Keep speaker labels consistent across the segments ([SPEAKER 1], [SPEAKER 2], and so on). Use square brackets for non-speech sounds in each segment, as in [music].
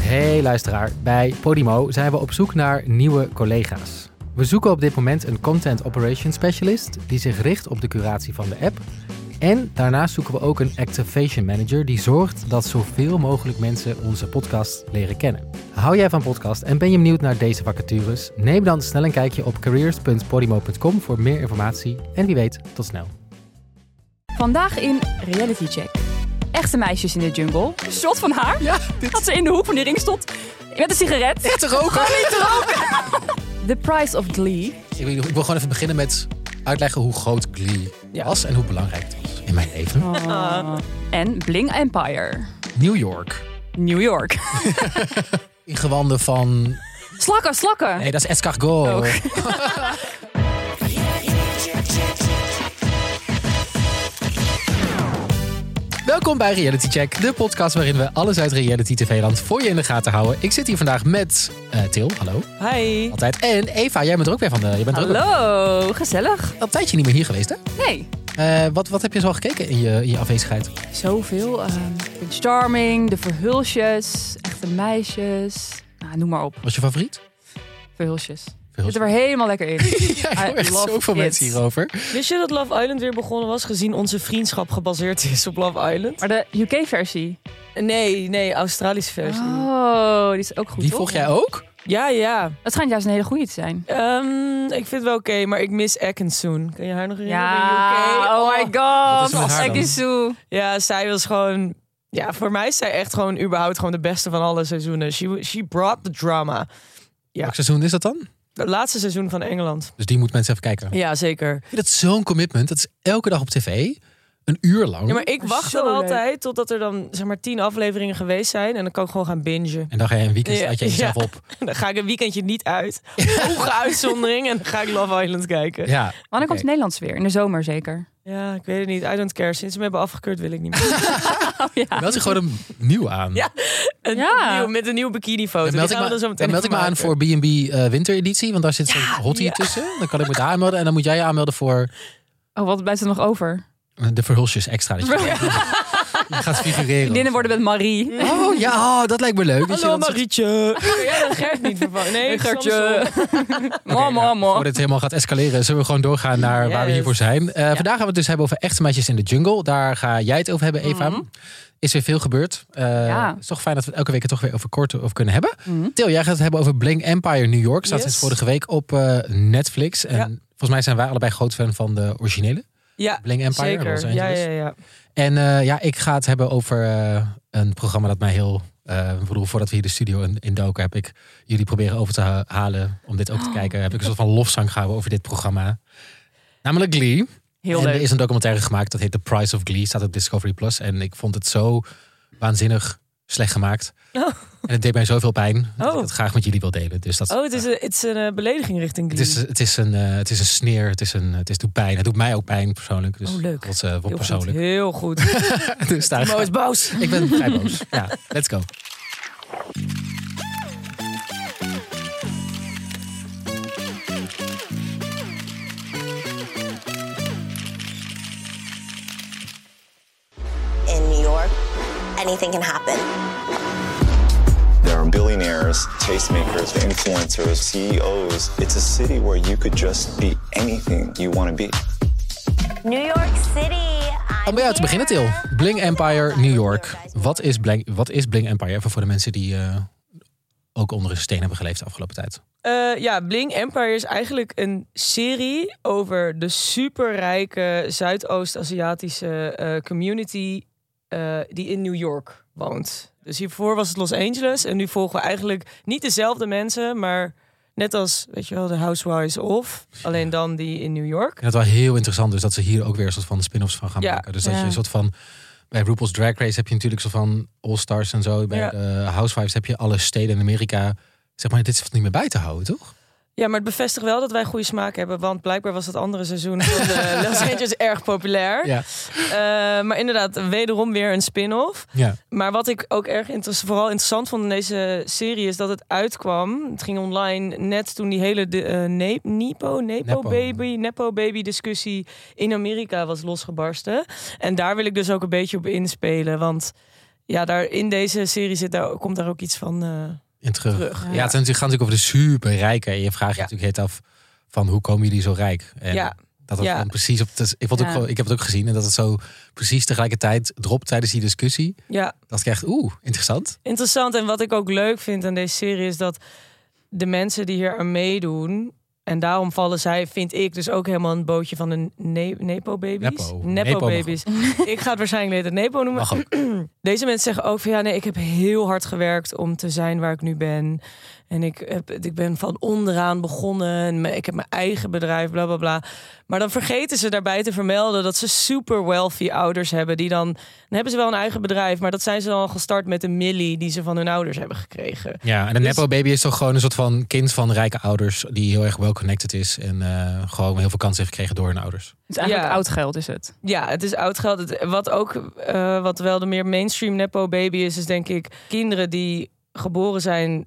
[SPEAKER 1] Hey luisteraar, bij Podimo zijn we op zoek naar nieuwe collega's. We zoeken op dit moment een Content Operations Specialist die zich richt op de curatie van de app. En daarnaast zoeken we ook een Activation Manager die zorgt dat zoveel mogelijk mensen onze podcast leren kennen. Hou jij van podcast en ben je benieuwd naar deze vacatures? Neem dan snel een kijkje op careers.podimo.com voor meer informatie en wie weet tot snel.
[SPEAKER 2] Vandaag in Reality Check. Echte meisjes in de jungle. Shot van haar.
[SPEAKER 3] Ja,
[SPEAKER 2] Dat ze in de hoek van die ring stond. Met een sigaret.
[SPEAKER 3] te roken.
[SPEAKER 2] The Price of Glee.
[SPEAKER 3] Ik wil, ik wil gewoon even beginnen met uitleggen hoe groot Glee
[SPEAKER 2] Ja.
[SPEAKER 3] was en hoe belangrijk het was in mijn leven.
[SPEAKER 2] En Bling Empire.
[SPEAKER 3] New York.
[SPEAKER 2] New York. [laughs]
[SPEAKER 3] In gewanden van... Oh.
[SPEAKER 2] Slakken, slakken.
[SPEAKER 3] Nee, dat is escargot.
[SPEAKER 2] Ook.
[SPEAKER 3] [laughs] Welkom bij Reality Check, de podcast waarin we alles uit Reality TV-land voor je in de gaten houden. Ik zit hier vandaag met eh, Til, hallo,
[SPEAKER 4] Hi.
[SPEAKER 3] altijd. En Eva, jij bent er ook weer van de... Je bent er ook
[SPEAKER 2] Hallo, gezellig.
[SPEAKER 3] al een tijdje niet meer hier geweest, hè?
[SPEAKER 2] Nee.
[SPEAKER 3] Eh, wat, wat heb je zo gekeken in je, in je afwezigheid?
[SPEAKER 2] Zoveel. ehm, Prince Charming, de verhulsjes, echte meisjes. Nou, noem maar op.
[SPEAKER 3] Was je favoriet? [laughs]
[SPEAKER 2] Verhulsjes. Zit er
[SPEAKER 3] Verhulsjes.
[SPEAKER 2] weer helemaal lekker [laughs] in.
[SPEAKER 3] Ja, ik hoor
[SPEAKER 2] I
[SPEAKER 3] echt
[SPEAKER 2] love
[SPEAKER 3] zoveel
[SPEAKER 2] it.
[SPEAKER 3] mensen hierover.
[SPEAKER 4] Wist je dat Love Island weer begonnen was, gezien onze vriendschap gebaseerd is op Love Island?
[SPEAKER 2] Maar de UK-versie.
[SPEAKER 4] Nee, nee, Australische versie.
[SPEAKER 2] Oh, die is ook goed,
[SPEAKER 3] Die
[SPEAKER 2] toch?
[SPEAKER 3] volg jij ook?
[SPEAKER 4] Ja, ja.
[SPEAKER 2] Het schijnt juist een hele goede te zijn.
[SPEAKER 4] Ehm, ik vind het wel oké, maar ik mis Atkinson. Kun je haar nog herinneren?
[SPEAKER 2] Ja,
[SPEAKER 4] in UK?
[SPEAKER 2] oh my
[SPEAKER 3] Wat
[SPEAKER 2] god.
[SPEAKER 3] is er met haar
[SPEAKER 2] Kijk
[SPEAKER 3] dan?
[SPEAKER 2] eens zo.
[SPEAKER 4] Ja, zij was gewoon... Ja, voor mij is zij echt gewoon überhaupt gewoon de beste van alle seizoenen. She, she brought the drama. Ja.
[SPEAKER 3] Welk seizoen is dat dan?
[SPEAKER 4] Het laatste seizoen van Engeland.
[SPEAKER 3] Dus die moet mensen even kijken.
[SPEAKER 4] Ja, zeker.
[SPEAKER 3] Ik vind dat zo'n commitment. Dat is elke dag op tv. Een uur lang.
[SPEAKER 4] Ja, maar ik wacht
[SPEAKER 2] Zo
[SPEAKER 4] dan
[SPEAKER 2] leuk.
[SPEAKER 4] altijd totdat er dan zeg maar tien afleveringen geweest zijn. En dan kan ik gewoon gaan bingen.
[SPEAKER 3] En dan ga je een weekend uit je
[SPEAKER 4] Ja.
[SPEAKER 3] jezelf op.
[SPEAKER 4] [laughs] Dan ga ik een weekendje niet uit.
[SPEAKER 3] [laughs]
[SPEAKER 4] Hoge uitzondering. En dan ga ik Love Island kijken. Ja. [laughs]
[SPEAKER 3] Ja.
[SPEAKER 2] Wanneer komt Nederlands weer? In de zomer zeker.
[SPEAKER 4] ik weet het niet. I don't care. Sinds ze me hebben afgekeurd wil ik niet
[SPEAKER 3] [laughs]
[SPEAKER 4] meer.
[SPEAKER 3] Meld je gewoon een nieuw aan.
[SPEAKER 4] Ja, Een
[SPEAKER 2] Ja.
[SPEAKER 4] nieuw- met een nieuwe bikini foto.
[SPEAKER 3] Dan meld ik,
[SPEAKER 4] gaan we dan zo
[SPEAKER 3] me,
[SPEAKER 4] meteen
[SPEAKER 3] dan meld ik me
[SPEAKER 4] even
[SPEAKER 3] aan
[SPEAKER 4] maken.
[SPEAKER 3] voor B&B eh, wintereditie. Want daar zit zo'n hottie
[SPEAKER 4] ja.
[SPEAKER 3] tussen. Dan kan ik me daar aanmelden. En dan moet jij je aanmelden voor eh,
[SPEAKER 2] Oh, wat blijft er nog over?
[SPEAKER 3] de verhulsjes extra.
[SPEAKER 4] [laughs]
[SPEAKER 3] Dat je gaat figureren.
[SPEAKER 2] Vriendinnen worden met Marie.
[SPEAKER 3] Oh ja, oh, dat lijkt me leuk. Dat je
[SPEAKER 4] Hallo
[SPEAKER 3] dat soort-
[SPEAKER 4] Marietje.
[SPEAKER 3] [laughs]
[SPEAKER 4] Ja, dat Gert niet vervangen. Nee,
[SPEAKER 2] Hey, [laughs] Gertje.
[SPEAKER 4] Samson.
[SPEAKER 2] [laughs] Mo, mo, mo.
[SPEAKER 3] Voordat het helemaal gaat escaleren, zullen we gewoon doorgaan naar waar we
[SPEAKER 4] Yes.
[SPEAKER 3] hiervoor zijn. Eh, Vandaag gaan we het dus hebben over echte meisjes in de jungle. Daar ga jij het over hebben,
[SPEAKER 4] Mhm.
[SPEAKER 3] Eva. Is weer veel gebeurd. Eh,
[SPEAKER 2] Ja.
[SPEAKER 3] Het is toch fijn dat we het elke week er toch weer over kort over kunnen hebben. Til, jij gaat het hebben over Bling Empire New York. Staat
[SPEAKER 4] Mhm.
[SPEAKER 3] sinds
[SPEAKER 4] Yes.
[SPEAKER 3] vorige week op eh, Netflix. En
[SPEAKER 4] Ja.
[SPEAKER 3] volgens mij zijn wij allebei groot fan van de originele
[SPEAKER 4] Ja,
[SPEAKER 3] Bling Empire. Los
[SPEAKER 4] zeker.
[SPEAKER 3] Angeles.
[SPEAKER 4] Ja, ja, ja.
[SPEAKER 3] En eh, ja, ik ga het hebben over eh, een programma dat mij heel... eh, ik bedoel, voordat we hier de studio in, in doken, heb ik jullie proberen over te ha- halen om dit ook
[SPEAKER 4] Oh.
[SPEAKER 3] te kijken. Heb ik een soort van lofzang gehouden over dit programma. Namelijk Glee.
[SPEAKER 2] Heel
[SPEAKER 3] en er
[SPEAKER 2] leuk.
[SPEAKER 3] is een documentaire gemaakt, dat heet The Price of Glee. Staat op Discovery Plus. En ik vond het zo waanzinnig slecht gemaakt.
[SPEAKER 4] Oh.
[SPEAKER 3] En het deed mij zoveel pijn dat
[SPEAKER 4] Oh.
[SPEAKER 3] ik het graag met jullie wil delen. Dus dat,
[SPEAKER 4] Oh, het is een, het is een eh, belediging richting
[SPEAKER 3] het,
[SPEAKER 4] Glee.
[SPEAKER 3] is, het, is een, eh, het is een sneer, het, is een, het is, doet pijn. Het doet mij ook pijn persoonlijk. Dus
[SPEAKER 4] Oh, leuk.
[SPEAKER 3] Dat is eh, wel
[SPEAKER 4] heel goed.
[SPEAKER 3] persoonlijk.
[SPEAKER 4] Heel goed.
[SPEAKER 3] [laughs] Dus daar
[SPEAKER 4] Mo is boos.
[SPEAKER 3] ik ben vrij boos. Ja, let's go.
[SPEAKER 5] in New York, anything can happen.
[SPEAKER 6] There are billionaires, tastemakers, influencers, CEOs. It's a city where you could just be anything you want to be.
[SPEAKER 5] New York City.
[SPEAKER 3] Om bij jou te beginnen, Til. Bling Empire New York. Wat is Bling, wat is Bling Empire? Even voor de mensen die eh, ook onder een steen hebben geleefd de afgelopen tijd.
[SPEAKER 4] Eh, ja, Bling Empire is eigenlijk een serie over de superrijke Zuidoost-Aziatische eh, community eh, die in New York woont. Dus hiervoor was het Los Angeles en nu volgen we eigenlijk niet dezelfde mensen, maar net als, weet je wel, de Housewives of, alleen dan die in New York.
[SPEAKER 3] Ik vind het wel heel interessant dus dat ze hier ook weer een soort van spin-offs van gaan
[SPEAKER 4] Ja.
[SPEAKER 3] maken. Dus dat
[SPEAKER 2] Ja.
[SPEAKER 3] je een soort van... Bij RuPaul's Drag Race heb je natuurlijk zo van All-Stars en zo. Bij
[SPEAKER 4] Ja.
[SPEAKER 3] de Housewives heb je alle steden in Amerika. Zeg maar, dit is niet meer bij te houden, toch?
[SPEAKER 4] Ja, maar het bevestigt wel dat wij goede smaak hebben, want blijkbaar was dat andere seizoen van de Los Angeles erg populair.
[SPEAKER 3] Ja.
[SPEAKER 4] Eh, maar inderdaad, wederom weer een spin-off.
[SPEAKER 3] ja.
[SPEAKER 4] Maar wat ik ook erg interess- vooral interessant vond in deze serie is dat het uitkwam. Het ging online net toen die hele de, eh, ne- Nipo, Nepo
[SPEAKER 3] Nepo.
[SPEAKER 4] baby, Nepo baby discussie in Amerika was losgebarsten. En daar wil ik dus ook een beetje op inspelen, want ja, daar, in deze serie zit daar, komt daar ook iets van eh,
[SPEAKER 3] in terug.
[SPEAKER 4] terug.
[SPEAKER 3] Ja, het is natuurlijk- gaat natuurlijk over de superrijken. En je vraagt je
[SPEAKER 4] Ja.
[SPEAKER 3] natuurlijk het af van hoe komen jullie zo rijk? En
[SPEAKER 4] Ja.
[SPEAKER 3] Dat het
[SPEAKER 4] Ja.
[SPEAKER 3] dan precies op. het is- ik, vond het
[SPEAKER 2] Ja.
[SPEAKER 3] ook, gewoon- ik heb het ook gezien en dat het zo precies tegelijkertijd dropt tijdens die discussie.
[SPEAKER 4] Ja,
[SPEAKER 3] Dat ik echt, oeh, interessant.
[SPEAKER 4] interessant. En wat ik ook leuk vind aan deze serie is dat de mensen die hier aan meedoen. En daarom vallen zij, vind ik, dus ook helemaal een bootje van de ne- Nepo-babies.
[SPEAKER 3] Nepo. Nepo mag
[SPEAKER 4] Nepo-babies. ik ga het waarschijnlijk later Nepo noemen.
[SPEAKER 3] Mag
[SPEAKER 4] [clears throat]
[SPEAKER 3] ook.
[SPEAKER 4] Deze mensen zeggen ook van ja, nee, ik heb heel hard gewerkt om te zijn waar ik nu ben. En ik, heb, ik ben van onderaan begonnen. En me- ik heb mijn eigen bedrijf, bla bla bla. Maar dan vergeten ze daarbij te vermelden dat ze super wealthy ouders hebben. Die dan, dan hebben ze wel een eigen bedrijf, maar dat zijn ze dan al gestart met een millie die ze van hun ouders hebben gekregen.
[SPEAKER 3] Ja, en een
[SPEAKER 4] Dus-
[SPEAKER 3] nepo baby is toch gewoon een soort van kind van rijke ouders die heel erg well connected is en eh, gewoon heel veel kansen heeft gekregen door hun ouders.
[SPEAKER 2] Het is eigenlijk
[SPEAKER 4] Ja.
[SPEAKER 2] oud geld, is het.
[SPEAKER 4] Ja, het is oud geld. Het- Wat ook eh, wat wel de meer mainstream nepo baby is, is denk ik kinderen die geboren zijn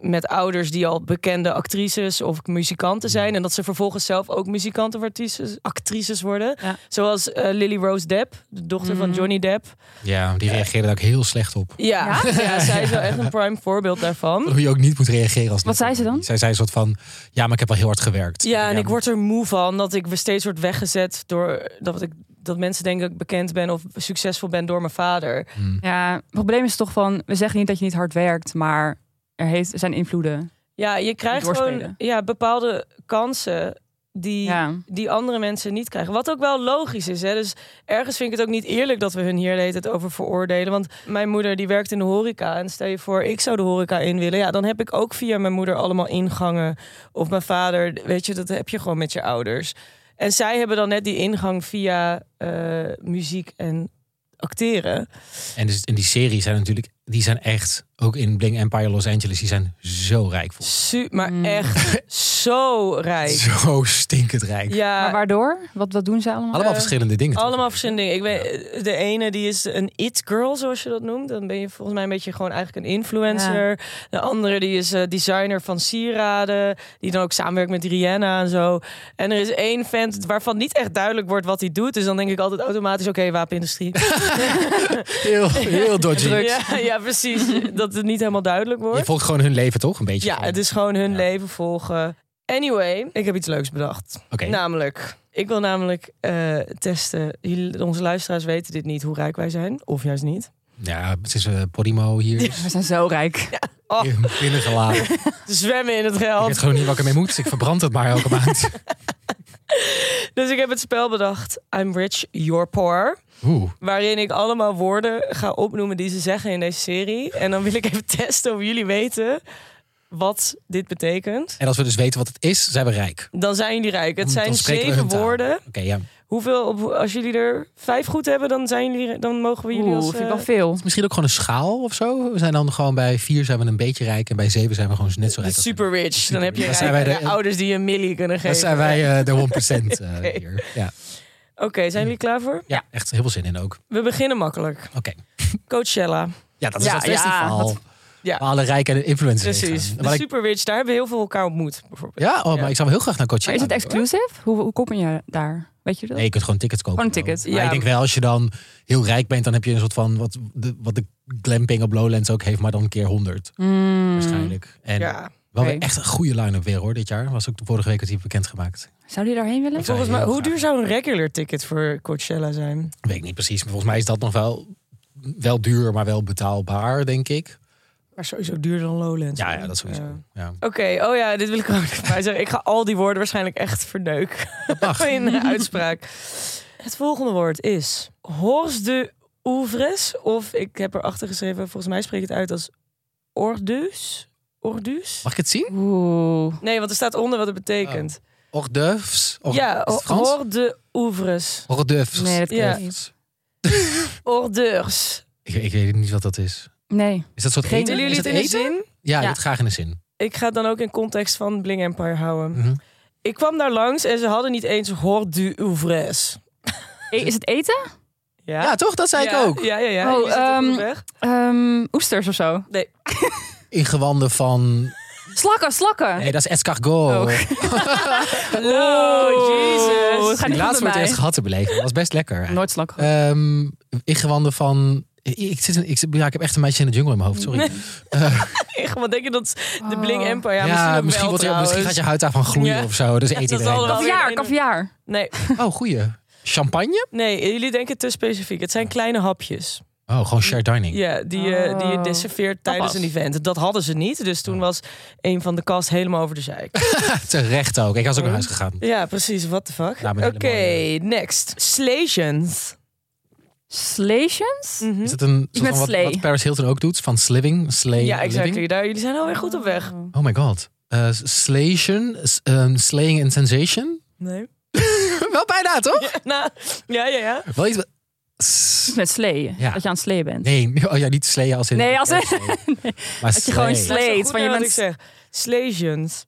[SPEAKER 4] met ouders die al bekende actrices of muzikanten zijn en dat ze vervolgens zelf ook muzikanten of actrices, actrices worden,
[SPEAKER 2] Ja.
[SPEAKER 4] zoals eh, Lily Rose Depp, de dochter van Johnny Depp.
[SPEAKER 3] Ja, die reageerde daar ook heel slecht op.
[SPEAKER 4] Ja, [laughs] ja? zij is wel echt een prime voorbeeld daarvan.
[SPEAKER 3] Hoe je ook niet moet reageren als
[SPEAKER 2] Wat zei ze dan?
[SPEAKER 3] Zij zei een soort van, ja, maar ik heb wel heel hard gewerkt.
[SPEAKER 4] Ja, en ik word er moe van dat ik steeds word weggezet door dat ik dat mensen denken dat ik bekend ben of succesvol ben door mijn vader.
[SPEAKER 3] Hm.
[SPEAKER 2] Ja, het probleem is toch van, we zeggen niet dat je niet hard werkt, maar er, heeft, er zijn invloeden.
[SPEAKER 4] Ja, je krijgt gewoon
[SPEAKER 2] doorspelen.
[SPEAKER 4] ja, bepaalde kansen die,
[SPEAKER 2] Ja.
[SPEAKER 4] die andere mensen niet krijgen. Wat ook wel logisch is. Hè? Dus ergens vind ik het ook niet eerlijk dat we hun hier de hele tijd over veroordelen. Want mijn moeder die werkt in de horeca. En stel je voor, ik zou de horeca in willen. Ja, dan heb ik ook via mijn moeder allemaal ingangen. Of mijn vader, weet je, dat heb je gewoon met je ouders. En zij hebben dan net die ingang via eh, muziek en acteren.
[SPEAKER 3] En dus in die serie zijn natuurlijk, die zijn echt, ook in Bling Empire Los Angeles, die zijn zo rijk. volgens
[SPEAKER 4] Su maar
[SPEAKER 2] Mm. [laughs]
[SPEAKER 4] echt zo
[SPEAKER 3] mij.
[SPEAKER 4] rijk.
[SPEAKER 3] Zo stinkend rijk.
[SPEAKER 4] Ja, eh,
[SPEAKER 2] Maar waardoor? Wat, wat doen ze allemaal?
[SPEAKER 3] Allemaal verschillende dingen. toch?
[SPEAKER 4] Allemaal verschillende dingen. Ik weet, de ene die is een it girl, zoals je dat noemt. Dan ben je volgens mij een beetje gewoon eigenlijk een influencer. De andere die is eh, designer van sieraden. Die dan ook samenwerkt met Rihanna en zo. En er is één vent waarvan niet echt duidelijk wordt wat hij doet. Dus dan denk ik altijd automatisch, oké,
[SPEAKER 3] [laughs]
[SPEAKER 4] wapenindustrie.
[SPEAKER 3] Heel, heel dodgy.
[SPEAKER 4] ja, ja,
[SPEAKER 3] [laughs]
[SPEAKER 4] precies. Dat het niet helemaal duidelijk wordt.
[SPEAKER 3] Je volgt gewoon hun leven toch? Een beetje.
[SPEAKER 4] Ja,
[SPEAKER 3] gewoon.
[SPEAKER 4] het is gewoon hun leven volgen. Anyway, ik heb iets leuks bedacht.
[SPEAKER 3] Oké.
[SPEAKER 4] Namelijk, ik wil namelijk eh, testen. Jullie, onze luisteraars weten dit niet, hoe rijk wij zijn. Of juist niet.
[SPEAKER 3] Ja, het is eh, Podimo hier. [laughs]
[SPEAKER 2] We zijn zo rijk.
[SPEAKER 4] Oh,
[SPEAKER 3] Hier Binnengeladen. Ik
[SPEAKER 4] zwemmen in het
[SPEAKER 3] weet
[SPEAKER 4] geld.
[SPEAKER 3] gewoon niet wat ik ermee moet. Ik verbrand het maar elke
[SPEAKER 4] [laughs]
[SPEAKER 3] maand.
[SPEAKER 4] Dus ik heb het spel bedacht. I'm rich, you're poor.
[SPEAKER 3] Oeh.
[SPEAKER 4] Waarin ik allemaal woorden ga opnoemen die ze zeggen in deze serie. En dan wil ik even [laughs] testen of jullie weten wat dit betekent.
[SPEAKER 3] En als we dus weten wat het is, zijn we rijk.
[SPEAKER 4] Dan zijn jullie rijk. Het
[SPEAKER 3] Dan
[SPEAKER 4] zijn
[SPEAKER 3] spreken we
[SPEAKER 4] zeven
[SPEAKER 3] hun taal.
[SPEAKER 4] woorden.
[SPEAKER 3] Oké, ja.
[SPEAKER 4] Hoeveel, op- als jullie er vijf goed hebben, dan, zijn jullie, dan mogen we jullie
[SPEAKER 2] Oeh,
[SPEAKER 4] als...
[SPEAKER 2] vind ik
[SPEAKER 4] eh,
[SPEAKER 2] wel veel.
[SPEAKER 3] Misschien ook gewoon een schaal of zo. We zijn dan gewoon bij vier zijn we een beetje rijk. En bij zeven zijn we gewoon net zo rijk. als-
[SPEAKER 4] Super rich. dan heb je
[SPEAKER 3] rich. Dan zijn
[SPEAKER 4] rijk-
[SPEAKER 3] wij de-
[SPEAKER 4] de ouders die je een millie kunnen geven.
[SPEAKER 3] Dat zijn wij eh, de 1% eh,
[SPEAKER 4] [laughs] Oké.
[SPEAKER 3] hier. Ja.
[SPEAKER 4] Oké, zijn jullie klaar voor?
[SPEAKER 3] ja, echt heel veel zin in ook.
[SPEAKER 4] We beginnen makkelijk.
[SPEAKER 3] Oké.
[SPEAKER 4] Coachella.
[SPEAKER 3] Ja, dat is
[SPEAKER 2] Ja,
[SPEAKER 3] het
[SPEAKER 2] ja,
[SPEAKER 3] festival.
[SPEAKER 2] dat-
[SPEAKER 4] ja.
[SPEAKER 3] Waar alle rijken en influencers heen
[SPEAKER 4] Precies.
[SPEAKER 3] gaan.
[SPEAKER 4] De
[SPEAKER 3] Waar ik-
[SPEAKER 4] super rich. Daar hebben heel veel elkaar ontmoet. Bijvoorbeeld.
[SPEAKER 3] Ja, oh, maar
[SPEAKER 4] Ja.
[SPEAKER 3] ik zou wel heel graag naar Coachella.
[SPEAKER 2] Maar is het
[SPEAKER 3] willen, hoor.
[SPEAKER 2] exclusive? Hoe, hoe kom je daar? Weet je dat?
[SPEAKER 3] Nee, je kunt gewoon tickets kopen.
[SPEAKER 2] Gewoon een ticket.
[SPEAKER 3] Maar
[SPEAKER 4] Ja.
[SPEAKER 3] ik denk wel, als je dan heel rijk bent, dan heb je een soort van... wat de, wat de glamping op Lowlands ook heeft, maar dan een keer 100.
[SPEAKER 2] Hmm.
[SPEAKER 3] Waarschijnlijk. En
[SPEAKER 4] Ja.
[SPEAKER 3] wel weer
[SPEAKER 2] Mhm. Oké.
[SPEAKER 3] echt een goede line-up weer hoor, dit jaar. Was ook vorige week het hier bekendgemaakt.
[SPEAKER 2] Zou je daarheen
[SPEAKER 3] zou
[SPEAKER 2] willen?
[SPEAKER 4] Volgens
[SPEAKER 3] heel
[SPEAKER 4] mij, hoe
[SPEAKER 3] graag-
[SPEAKER 4] duur zou een regular ticket voor Coachella zijn?
[SPEAKER 3] Weet ik niet precies, maar volgens mij is dat nog wel... Wel duur, maar wel betaalbaar, denk ik.
[SPEAKER 4] Maar sowieso duurder dan Lowlands.
[SPEAKER 3] Ja, ja dat sowieso.
[SPEAKER 4] Ja.
[SPEAKER 3] Ja.
[SPEAKER 4] Oké, oh ja, dit wil ik er ook even bij zeggen. Ik ga al die woorden waarschijnlijk
[SPEAKER 3] [laughs]
[SPEAKER 4] echt verneuk in de uitspraak. Het volgende woord is Horst de Ouvres. Of ik heb erachter geschreven, volgens mij spreek ik het uit als Ordus. Ordus?
[SPEAKER 3] Mag ik het zien?
[SPEAKER 2] Oeh.
[SPEAKER 4] Nee, want er staat onder wat het betekent.
[SPEAKER 3] Hors d'oeuvres? Hors-
[SPEAKER 4] ja,
[SPEAKER 3] is het Frans?
[SPEAKER 4] Hors de Ouvres.
[SPEAKER 3] Hors d'oeuvres.
[SPEAKER 2] Nee, dat ken
[SPEAKER 4] Ja.
[SPEAKER 2] ik niet.
[SPEAKER 4] Hors d'oeuvres.
[SPEAKER 3] Ik, ik weet niet wat dat is.
[SPEAKER 2] Nee.
[SPEAKER 3] Is dat soort
[SPEAKER 2] Geen-
[SPEAKER 3] eten?
[SPEAKER 4] Willen
[SPEAKER 3] Is
[SPEAKER 4] jullie het
[SPEAKER 3] dat
[SPEAKER 4] in de
[SPEAKER 3] eten?
[SPEAKER 4] zin?
[SPEAKER 3] Ja,
[SPEAKER 2] Ja.
[SPEAKER 3] dat graag in de zin.
[SPEAKER 4] Ik ga het dan ook in context van Bling Empire houden.
[SPEAKER 3] Mhm.
[SPEAKER 4] Ik kwam daar langs en ze hadden niet eens Hors de Ouvres.
[SPEAKER 2] E- Is het eten?
[SPEAKER 4] Ja,
[SPEAKER 3] Ja, toch? Dat zei ik ook.
[SPEAKER 4] Ja, ja, ja.
[SPEAKER 2] Oh,
[SPEAKER 4] Je zit er goed
[SPEAKER 2] ehm,
[SPEAKER 4] weg.
[SPEAKER 2] Ehm, oesters of zo?
[SPEAKER 4] Nee.
[SPEAKER 3] Ingewanden van...
[SPEAKER 2] Slakken, slakken.
[SPEAKER 3] Nee, dat is escargot. [laughs]
[SPEAKER 2] Ook.
[SPEAKER 3] Die
[SPEAKER 4] Hallo,
[SPEAKER 2] Jezus.
[SPEAKER 4] Jezus.
[SPEAKER 2] Ga
[SPEAKER 3] laatste
[SPEAKER 2] niet onder
[SPEAKER 4] [laughs]
[SPEAKER 3] wordt
[SPEAKER 2] mij.
[SPEAKER 3] Eh, eerst gehad te beleven. Dat was best lekker.
[SPEAKER 2] Nooit slakken.
[SPEAKER 3] Ehm, ingewanden van Ik, ik zit in- ik, zit- ja, ik heb echt een meisje in de jungle in mijn hoofd,
[SPEAKER 4] [laughs]
[SPEAKER 3] sorry. Eh,
[SPEAKER 4] Echt, wat denk je dat is de Bling
[SPEAKER 2] Oh.
[SPEAKER 4] Empire? Ja,
[SPEAKER 3] ja,
[SPEAKER 4] misschien, ook
[SPEAKER 3] misschien,
[SPEAKER 4] wel,
[SPEAKER 3] wordt je, misschien
[SPEAKER 4] trouwens.
[SPEAKER 3] gaat je huid daarvan gloeien
[SPEAKER 4] Ja.
[SPEAKER 3] of zo. Dus
[SPEAKER 4] Ja,
[SPEAKER 3] eet
[SPEAKER 4] dat zal
[SPEAKER 3] iedereen.
[SPEAKER 4] wel.
[SPEAKER 2] Kaviaar,
[SPEAKER 4] weer-
[SPEAKER 2] kaviaar.
[SPEAKER 4] Nee,
[SPEAKER 3] Oh, goeie. Champagne?
[SPEAKER 4] nee, jullie denken te specifiek. Het zijn kleine hapjes.
[SPEAKER 3] Oh, gewoon shared dining.
[SPEAKER 4] Ja, die, je- die je
[SPEAKER 2] Oh.
[SPEAKER 4] desserveert tijdens
[SPEAKER 2] Tapas.
[SPEAKER 4] een event. Dat hadden ze niet, dus
[SPEAKER 3] Oh.
[SPEAKER 4] toen was een van de cast helemaal over de zeik.
[SPEAKER 3] [laughs] Terecht ook. Ik was ook naar huis gegaan.
[SPEAKER 4] ja, precies. What the fuck?
[SPEAKER 3] Nou, maar
[SPEAKER 4] Oké,
[SPEAKER 3] een hele mooie-
[SPEAKER 4] next. Slations.
[SPEAKER 2] Slations?
[SPEAKER 4] Mhm.
[SPEAKER 3] Is het een soort
[SPEAKER 2] met
[SPEAKER 3] van wat,
[SPEAKER 2] slee.
[SPEAKER 3] wat Paris Hilton ook doet? Van sliving, slay,
[SPEAKER 4] Ja, exactly.
[SPEAKER 3] living?
[SPEAKER 4] Daar, jullie zijn alweer goed op weg.
[SPEAKER 3] Oh my god. Eh slation, s- ehm, slaying and sensation?
[SPEAKER 4] Nee.
[SPEAKER 3] wel bijna, toch?
[SPEAKER 4] [laughs] Nou, ja, ja, ja.
[SPEAKER 3] Wel iets... wat- S-
[SPEAKER 2] Met sleeën.
[SPEAKER 3] Ja.
[SPEAKER 2] Dat je aan het sleeën bent.
[SPEAKER 3] Nee, [laughs] oh ja, niet slayen als in...
[SPEAKER 2] Nee, als in-
[SPEAKER 3] Nee. Maar
[SPEAKER 2] je
[SPEAKER 3] slay.
[SPEAKER 2] gewoon slay- Slates,
[SPEAKER 4] Goed
[SPEAKER 2] van je
[SPEAKER 4] naar wat
[SPEAKER 2] bent-
[SPEAKER 4] ik zeg. Slations.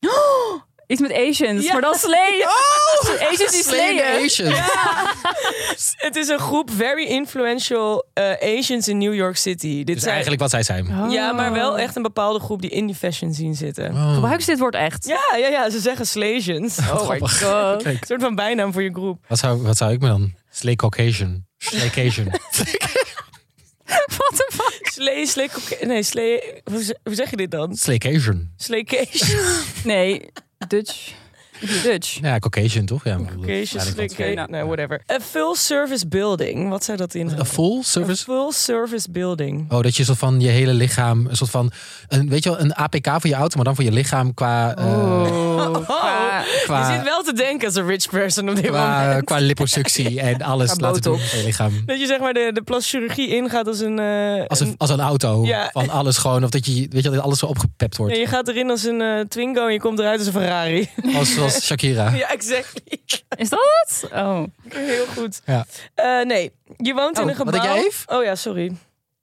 [SPEAKER 2] [laughs] Iets met Asians,
[SPEAKER 4] Ja.
[SPEAKER 2] maar dan
[SPEAKER 4] [laughs]
[SPEAKER 2] sleeën.
[SPEAKER 3] Oh!
[SPEAKER 2] Asians die sleeën.
[SPEAKER 3] Asian.
[SPEAKER 4] Het is een groep very influential eh, Asians in New York City. Dit
[SPEAKER 3] Dus
[SPEAKER 4] zijn
[SPEAKER 3] eigenlijk wat zij zijn.
[SPEAKER 2] Oh.
[SPEAKER 4] Ja, maar wel echt een bepaalde groep die in die fashion zien zitten.
[SPEAKER 3] Oh.
[SPEAKER 2] Gebruiken ze dit woord echt?
[SPEAKER 4] Ja, ja, ja, ze zeggen
[SPEAKER 3] [laughs]
[SPEAKER 4] Slasians. Oh my
[SPEAKER 3] grappig. [laughs]
[SPEAKER 4] god.
[SPEAKER 3] Kijk.
[SPEAKER 4] Een soort van bijnaam voor je groep.
[SPEAKER 3] Wat zou, wat zou ik me dan? Slay Caucasian. Slay
[SPEAKER 2] [laughs]
[SPEAKER 3] Caucasian.
[SPEAKER 2] What the fuck?
[SPEAKER 4] Slee, slee, koke- nee, slee, hoe ze- hoe zeg je dit dan?
[SPEAKER 3] Slay Caucasian.
[SPEAKER 4] Sleecation.
[SPEAKER 2] Nee, Dutch. Dutch.
[SPEAKER 3] Ja, Caucasian toch? Ja, ik bedoel, dat is
[SPEAKER 4] Cation,
[SPEAKER 3] eigenlijk wat
[SPEAKER 4] sleecation, nee, Nou, whatever. A full service building. Wat zou dat
[SPEAKER 3] voor-
[SPEAKER 4] inhouden?
[SPEAKER 3] Een full
[SPEAKER 4] A
[SPEAKER 3] service?
[SPEAKER 4] full service building.
[SPEAKER 3] Oh, dat je soort van je hele lichaam, een soort van, een, weet je wel, een APK voor je auto, maar dan voor je lichaam qua, eh,
[SPEAKER 2] Oh.
[SPEAKER 4] Oh, je
[SPEAKER 3] qua,
[SPEAKER 4] zit wel te denken als een rich person op dit
[SPEAKER 2] [laughs]
[SPEAKER 3] qua,
[SPEAKER 4] moment.
[SPEAKER 3] qua liposuctie en alles
[SPEAKER 2] Qua
[SPEAKER 3] laten doen
[SPEAKER 2] botox.
[SPEAKER 3] voor je lichaam.
[SPEAKER 4] Dat je zeg maar de, de plaschirurgie ingaat als een... eh,
[SPEAKER 3] Als een, als een auto,
[SPEAKER 4] Ja.
[SPEAKER 3] van alles gewoon, of dat je, weet je wel, dat alles zo opgepept
[SPEAKER 4] Ja,
[SPEAKER 3] wordt.
[SPEAKER 4] je gaat erin als een eh, Twingo en je komt eruit als een Ferrari. [laughs]
[SPEAKER 3] Als, zoals Shakira.
[SPEAKER 4] ja, exactly.
[SPEAKER 3] [laughs]
[SPEAKER 2] Is dat het? Oh.
[SPEAKER 4] Heel goed.
[SPEAKER 3] Ja.
[SPEAKER 4] Eh, nee, je woont
[SPEAKER 3] Oh,
[SPEAKER 4] in een
[SPEAKER 3] wat
[SPEAKER 4] gebouw.
[SPEAKER 3] denk jij, Eve?
[SPEAKER 4] Oh ja, sorry.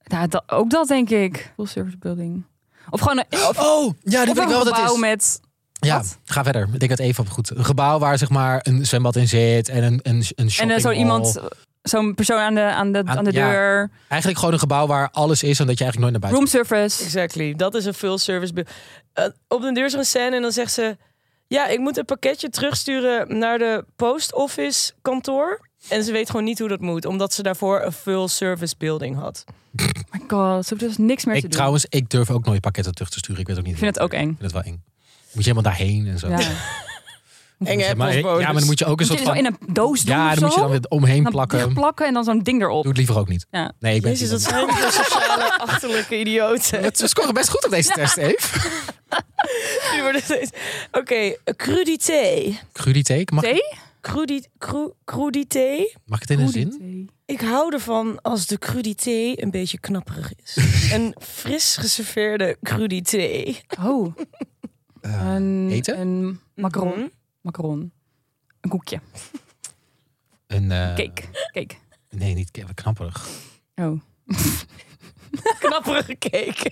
[SPEAKER 2] Nou, dat- ook dat denk ik. Full service building. Of gewoon een, of,
[SPEAKER 3] Oh, ja, die
[SPEAKER 2] of
[SPEAKER 3] weet
[SPEAKER 2] een
[SPEAKER 3] ik wel wat het
[SPEAKER 2] gebouw
[SPEAKER 3] is.
[SPEAKER 2] met...
[SPEAKER 3] Ja,
[SPEAKER 2] Wat?
[SPEAKER 3] ga verder. Ik denk dat even op goed. Een gebouw waar zeg maar een zwembad in zit en een, een, een
[SPEAKER 2] En
[SPEAKER 3] shopping
[SPEAKER 2] dan zo
[SPEAKER 3] mall.
[SPEAKER 2] iemand, zo'n persoon aan de, aan de,
[SPEAKER 3] Aan-
[SPEAKER 2] aan de
[SPEAKER 3] ja.
[SPEAKER 2] deur.
[SPEAKER 3] Eigenlijk gewoon een gebouw waar alles is en dat je eigenlijk nooit naar buiten
[SPEAKER 2] Room service.
[SPEAKER 4] Exactly. Dat is een full service. bu- Eh, op de deur is er een scène en dan zegt ze... Ja, ik moet een pakketje terugsturen naar de post office kantoor. En ze weet gewoon niet hoe dat moet. Omdat ze daarvoor een full service building had.
[SPEAKER 2] my god, ze hoeft dus niks meer te
[SPEAKER 3] Ik
[SPEAKER 2] doen.
[SPEAKER 3] trouwens, ik durf ook nooit pakketten terug te sturen. Ik weet ook niet.
[SPEAKER 2] Ik vind het ook eng.
[SPEAKER 3] Ik vind het wel eng. Moet je helemaal daarheen en zo.
[SPEAKER 2] Ja.
[SPEAKER 3] Zeg
[SPEAKER 4] Enge
[SPEAKER 3] maar, eh, ja,
[SPEAKER 4] appelsbonus.
[SPEAKER 3] maar dan moet je ook een
[SPEAKER 2] Moet je
[SPEAKER 3] soort
[SPEAKER 2] dit
[SPEAKER 3] van.
[SPEAKER 2] wel in een doos doen
[SPEAKER 3] ja,
[SPEAKER 2] of
[SPEAKER 3] dan moet je
[SPEAKER 2] zo?
[SPEAKER 3] dan weer omheen
[SPEAKER 2] Dan
[SPEAKER 3] plakken. Doe
[SPEAKER 2] dichtplakken en dan zo'n ding erop.
[SPEAKER 3] het liever ook niet.
[SPEAKER 2] Ja.
[SPEAKER 3] Nee, ik ben
[SPEAKER 4] Jezus, dat
[SPEAKER 3] [laughs] niet.
[SPEAKER 4] zijn de sociale achterlijke idioten.
[SPEAKER 3] We scoren best goed op deze test, Eve.
[SPEAKER 4] Die worden steeds- Oké, crudité.
[SPEAKER 3] Crudité. Mag,
[SPEAKER 2] Thee?
[SPEAKER 4] Crudi, cru, crudité.
[SPEAKER 3] mag ik het in een zin?
[SPEAKER 4] Ik hou ervan als de crudité een beetje knapperig
[SPEAKER 3] [laughs]
[SPEAKER 4] is. een fris geserveerde crudité.
[SPEAKER 2] Oh.
[SPEAKER 3] Eh,
[SPEAKER 2] Een,
[SPEAKER 3] eten?
[SPEAKER 2] Een macaron. Macaron. Een koekje.
[SPEAKER 3] Een eh,
[SPEAKER 2] Cake. Cake.
[SPEAKER 3] Nee, niet ke- knapperig.
[SPEAKER 2] Oh.
[SPEAKER 4] Knapperige cake.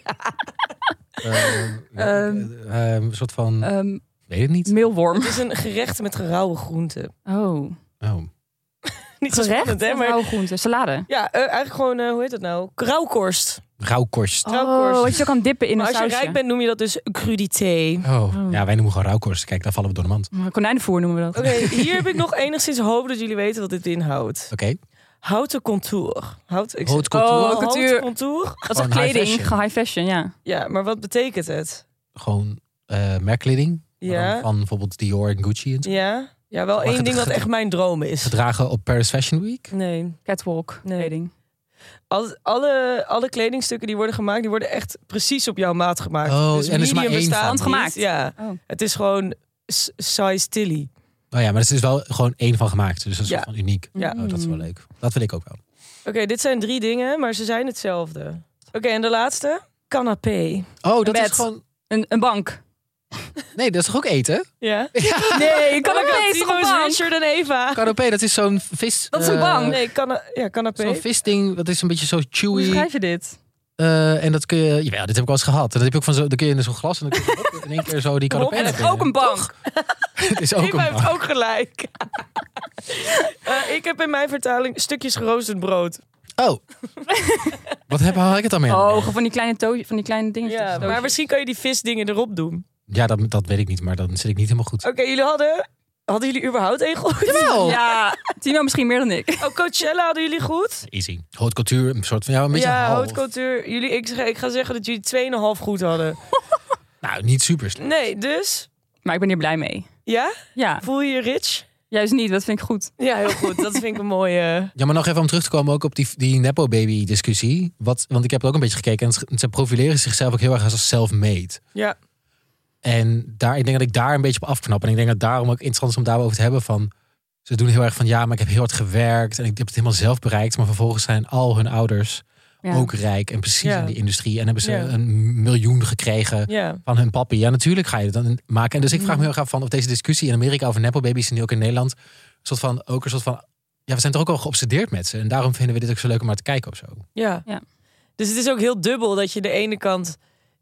[SPEAKER 3] Eh, eh, eh, een soort van.
[SPEAKER 2] Ehm
[SPEAKER 3] weet het niet.
[SPEAKER 2] meelworm.
[SPEAKER 4] Het is een gerecht met gerauwe groenten. [laughs]
[SPEAKER 2] Oh.
[SPEAKER 3] Oh.
[SPEAKER 4] Niet zo
[SPEAKER 2] Gerecht?
[SPEAKER 4] spannend,
[SPEAKER 2] nou?
[SPEAKER 4] hè?
[SPEAKER 2] Of
[SPEAKER 4] Maar,
[SPEAKER 2] rauwe groenten? Salade?
[SPEAKER 4] ja, eh, eigenlijk gewoon, eh, hoe heet dat nou? Rauwkorst.
[SPEAKER 3] Rauwkorst.
[SPEAKER 4] Rauwkorst.
[SPEAKER 2] Oh, wat je zo kan dippen in
[SPEAKER 4] Maar
[SPEAKER 2] een
[SPEAKER 4] als je
[SPEAKER 2] sausje.
[SPEAKER 4] rijk bent, noem je dat dus crudité.
[SPEAKER 3] Oh. Ja, wij noemen gewoon rauwkorst. Kijk, daar vallen we door de mand. Oké.
[SPEAKER 2] Konijnenvoer noemen we dat.
[SPEAKER 3] Oh,
[SPEAKER 2] [laughs]
[SPEAKER 4] Oké, hier heb ik nog enigszins hoop dat jullie weten wat dit inhoudt. Houten contour. Hout, ik zeg-
[SPEAKER 3] Houten contour.
[SPEAKER 2] Oh,
[SPEAKER 4] Houten
[SPEAKER 2] couture.
[SPEAKER 4] contour.
[SPEAKER 2] Dat is
[SPEAKER 3] Gewoon
[SPEAKER 2] ook
[SPEAKER 3] high
[SPEAKER 2] kleding,
[SPEAKER 3] fashion.
[SPEAKER 2] ge- high fashion, ja.
[SPEAKER 4] Ja, maar wat betekent het?
[SPEAKER 3] Gewoon eh merkkleding. Maar dan
[SPEAKER 4] Ja,
[SPEAKER 3] Van bijvoorbeeld Dior en Gucci en zo.
[SPEAKER 4] ja. ja wel één
[SPEAKER 3] het
[SPEAKER 4] ding dat
[SPEAKER 3] ge-
[SPEAKER 4] echt mijn droom is.
[SPEAKER 3] Gedragen op Paris Fashion Week.
[SPEAKER 4] Nee.
[SPEAKER 2] Catwalk,
[SPEAKER 4] Nee.
[SPEAKER 2] kleding.
[SPEAKER 4] Al- alle, alle kledingstukken die worden gemaakt, die worden echt precies op jouw maat gemaakt.
[SPEAKER 3] Oh,
[SPEAKER 4] dus
[SPEAKER 3] en er is maar
[SPEAKER 4] medium
[SPEAKER 3] één
[SPEAKER 4] bestaat
[SPEAKER 3] van.
[SPEAKER 4] niet.
[SPEAKER 2] Handgemaakt?
[SPEAKER 4] Ja.
[SPEAKER 2] Oh.
[SPEAKER 4] Het is gewoon s- size tilly.
[SPEAKER 3] Nou ja, maar er is wel gewoon één van gemaakt. Dus dat is
[SPEAKER 4] Ja.
[SPEAKER 3] soort van uniek.
[SPEAKER 4] Ja.
[SPEAKER 3] Oh, dat is
[SPEAKER 2] Mm.
[SPEAKER 3] wel leuk. Dat wil ik ook wel.
[SPEAKER 4] Oké, dit zijn drie dingen, maar ze zijn hetzelfde. Oké, en de laatste? Canapé.
[SPEAKER 3] Oh, dat
[SPEAKER 2] bed.
[SPEAKER 3] is gewoon...
[SPEAKER 2] Een, een bank.
[SPEAKER 3] Nee, dat is toch ook eten?
[SPEAKER 2] [laughs]
[SPEAKER 4] Ja.
[SPEAKER 2] Nee, ik kan ook niet. is toch een
[SPEAKER 4] Tino's,
[SPEAKER 2] bank?
[SPEAKER 4] Richard en Eva.
[SPEAKER 3] Canapé, dat is zo'n vis...
[SPEAKER 2] Dat is een
[SPEAKER 3] eh,
[SPEAKER 2] bank.
[SPEAKER 4] Nee, cana ja,
[SPEAKER 3] Zo'n
[SPEAKER 4] canapé.
[SPEAKER 3] visding, dat is een beetje zo
[SPEAKER 2] Hoe
[SPEAKER 3] chewy.
[SPEAKER 2] schrijf je dit?
[SPEAKER 3] Eh, en dat kun je... Jawel, dit heb ik wel eens gehad. Dat heb ik ook van zo... Dan kun je in zo'n glas en dan kun je hop, in één keer zo die canapé
[SPEAKER 2] En
[SPEAKER 3] naar
[SPEAKER 2] het is
[SPEAKER 3] binnen.
[SPEAKER 2] ook een bank.
[SPEAKER 3] Het is ook
[SPEAKER 4] Eva
[SPEAKER 3] een
[SPEAKER 4] heeft
[SPEAKER 3] bank.
[SPEAKER 4] ook
[SPEAKER 3] [laughs]
[SPEAKER 4] gelijk. Eh, ik heb in mijn vertaling stukjes geroosterd brood.
[SPEAKER 3] Oh. Wat heb, haal ik het dan mee?
[SPEAKER 2] Oh, van die kleine, to van die kleine dingetjes.
[SPEAKER 4] Ja, maar misschien kan je die visdingen erop doen.
[SPEAKER 3] Ja, dat, dat weet ik niet, maar dan zit ik niet helemaal goed.
[SPEAKER 4] Oké, jullie hadden Hadden jullie überhaupt één goed?
[SPEAKER 2] Ja, Tino misschien meer dan ik.
[SPEAKER 4] [laughs] Oh, Coachella hadden jullie goed?
[SPEAKER 3] Easy. Haute couture, een soort van... Ja, een beetje
[SPEAKER 4] Ja,
[SPEAKER 3] half.
[SPEAKER 4] houtcultuur. Jullie, ik, zeg- ik ga zeggen dat jullie 2,5 goed hadden.
[SPEAKER 3] Nou, niet super slecht.
[SPEAKER 4] Nee, dus...
[SPEAKER 2] Maar ik ben hier blij mee.
[SPEAKER 4] Ja?
[SPEAKER 2] Ja,
[SPEAKER 4] Voel je je rich?
[SPEAKER 2] juist niet. Dat vind ik goed.
[SPEAKER 4] Ja, heel goed. Dat vind ik een mooie...
[SPEAKER 3] Ja, maar nog even om terug te komen ook op die, die Nepo-baby-discussie. Wat, want ik heb het ook een beetje gekeken. En ze- ze profileren zichzelf ook heel erg als self-made.
[SPEAKER 4] [laughs] Ja.
[SPEAKER 3] En daar, ik denk dat ik daar een beetje op afknap. En ik denk dat daarom ook interessant is om daarover te hebben. Van, ze doen heel erg van, ja, maar ik heb heel hard gewerkt. En ik heb het helemaal zelf bereikt. Maar vervolgens zijn al hun ouders
[SPEAKER 2] Ja.
[SPEAKER 3] ook rijk. En precies
[SPEAKER 4] Ja.
[SPEAKER 3] in die industrie. En hebben ze
[SPEAKER 4] Ja.
[SPEAKER 3] een miljoen gekregen
[SPEAKER 4] Ja. Mm.
[SPEAKER 3] van hun papi. Ja, natuurlijk ga je dat dan maken. En dus ik vraag me heel erg af van of deze discussie in Amerika over nepo-baby's en nu ook in Nederland een soort van ook een soort van ja, we zijn toch ook al geobsedeerd met ze en daarom vinden we dit ook zo leuk om naar te kijken of zo.
[SPEAKER 4] Ja.
[SPEAKER 2] Ja.
[SPEAKER 4] Dus het is ook heel dubbel dat je de ene kant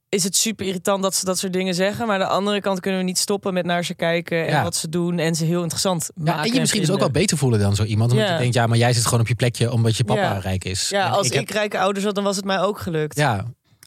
[SPEAKER 4] is het super irritant dat ze dat soort dingen zeggen, maar aan de andere kant kunnen we niet stoppen met naar ze kijken en
[SPEAKER 3] Ja.
[SPEAKER 4] wat ze doen en ze heel interessant maken.
[SPEAKER 3] Ja, en je misschien dus ook wel
[SPEAKER 4] vinden.
[SPEAKER 3] beter voelen dan zo iemand omdat
[SPEAKER 4] Ja.
[SPEAKER 3] je denkt ja, maar jij zit gewoon op je plekje omdat je papa
[SPEAKER 4] Ja.
[SPEAKER 3] rijk is.
[SPEAKER 4] Ja,
[SPEAKER 3] En
[SPEAKER 4] als ik,
[SPEAKER 3] heb-
[SPEAKER 4] rijke ouders had, dan was het mij ook gelukt.
[SPEAKER 3] ja,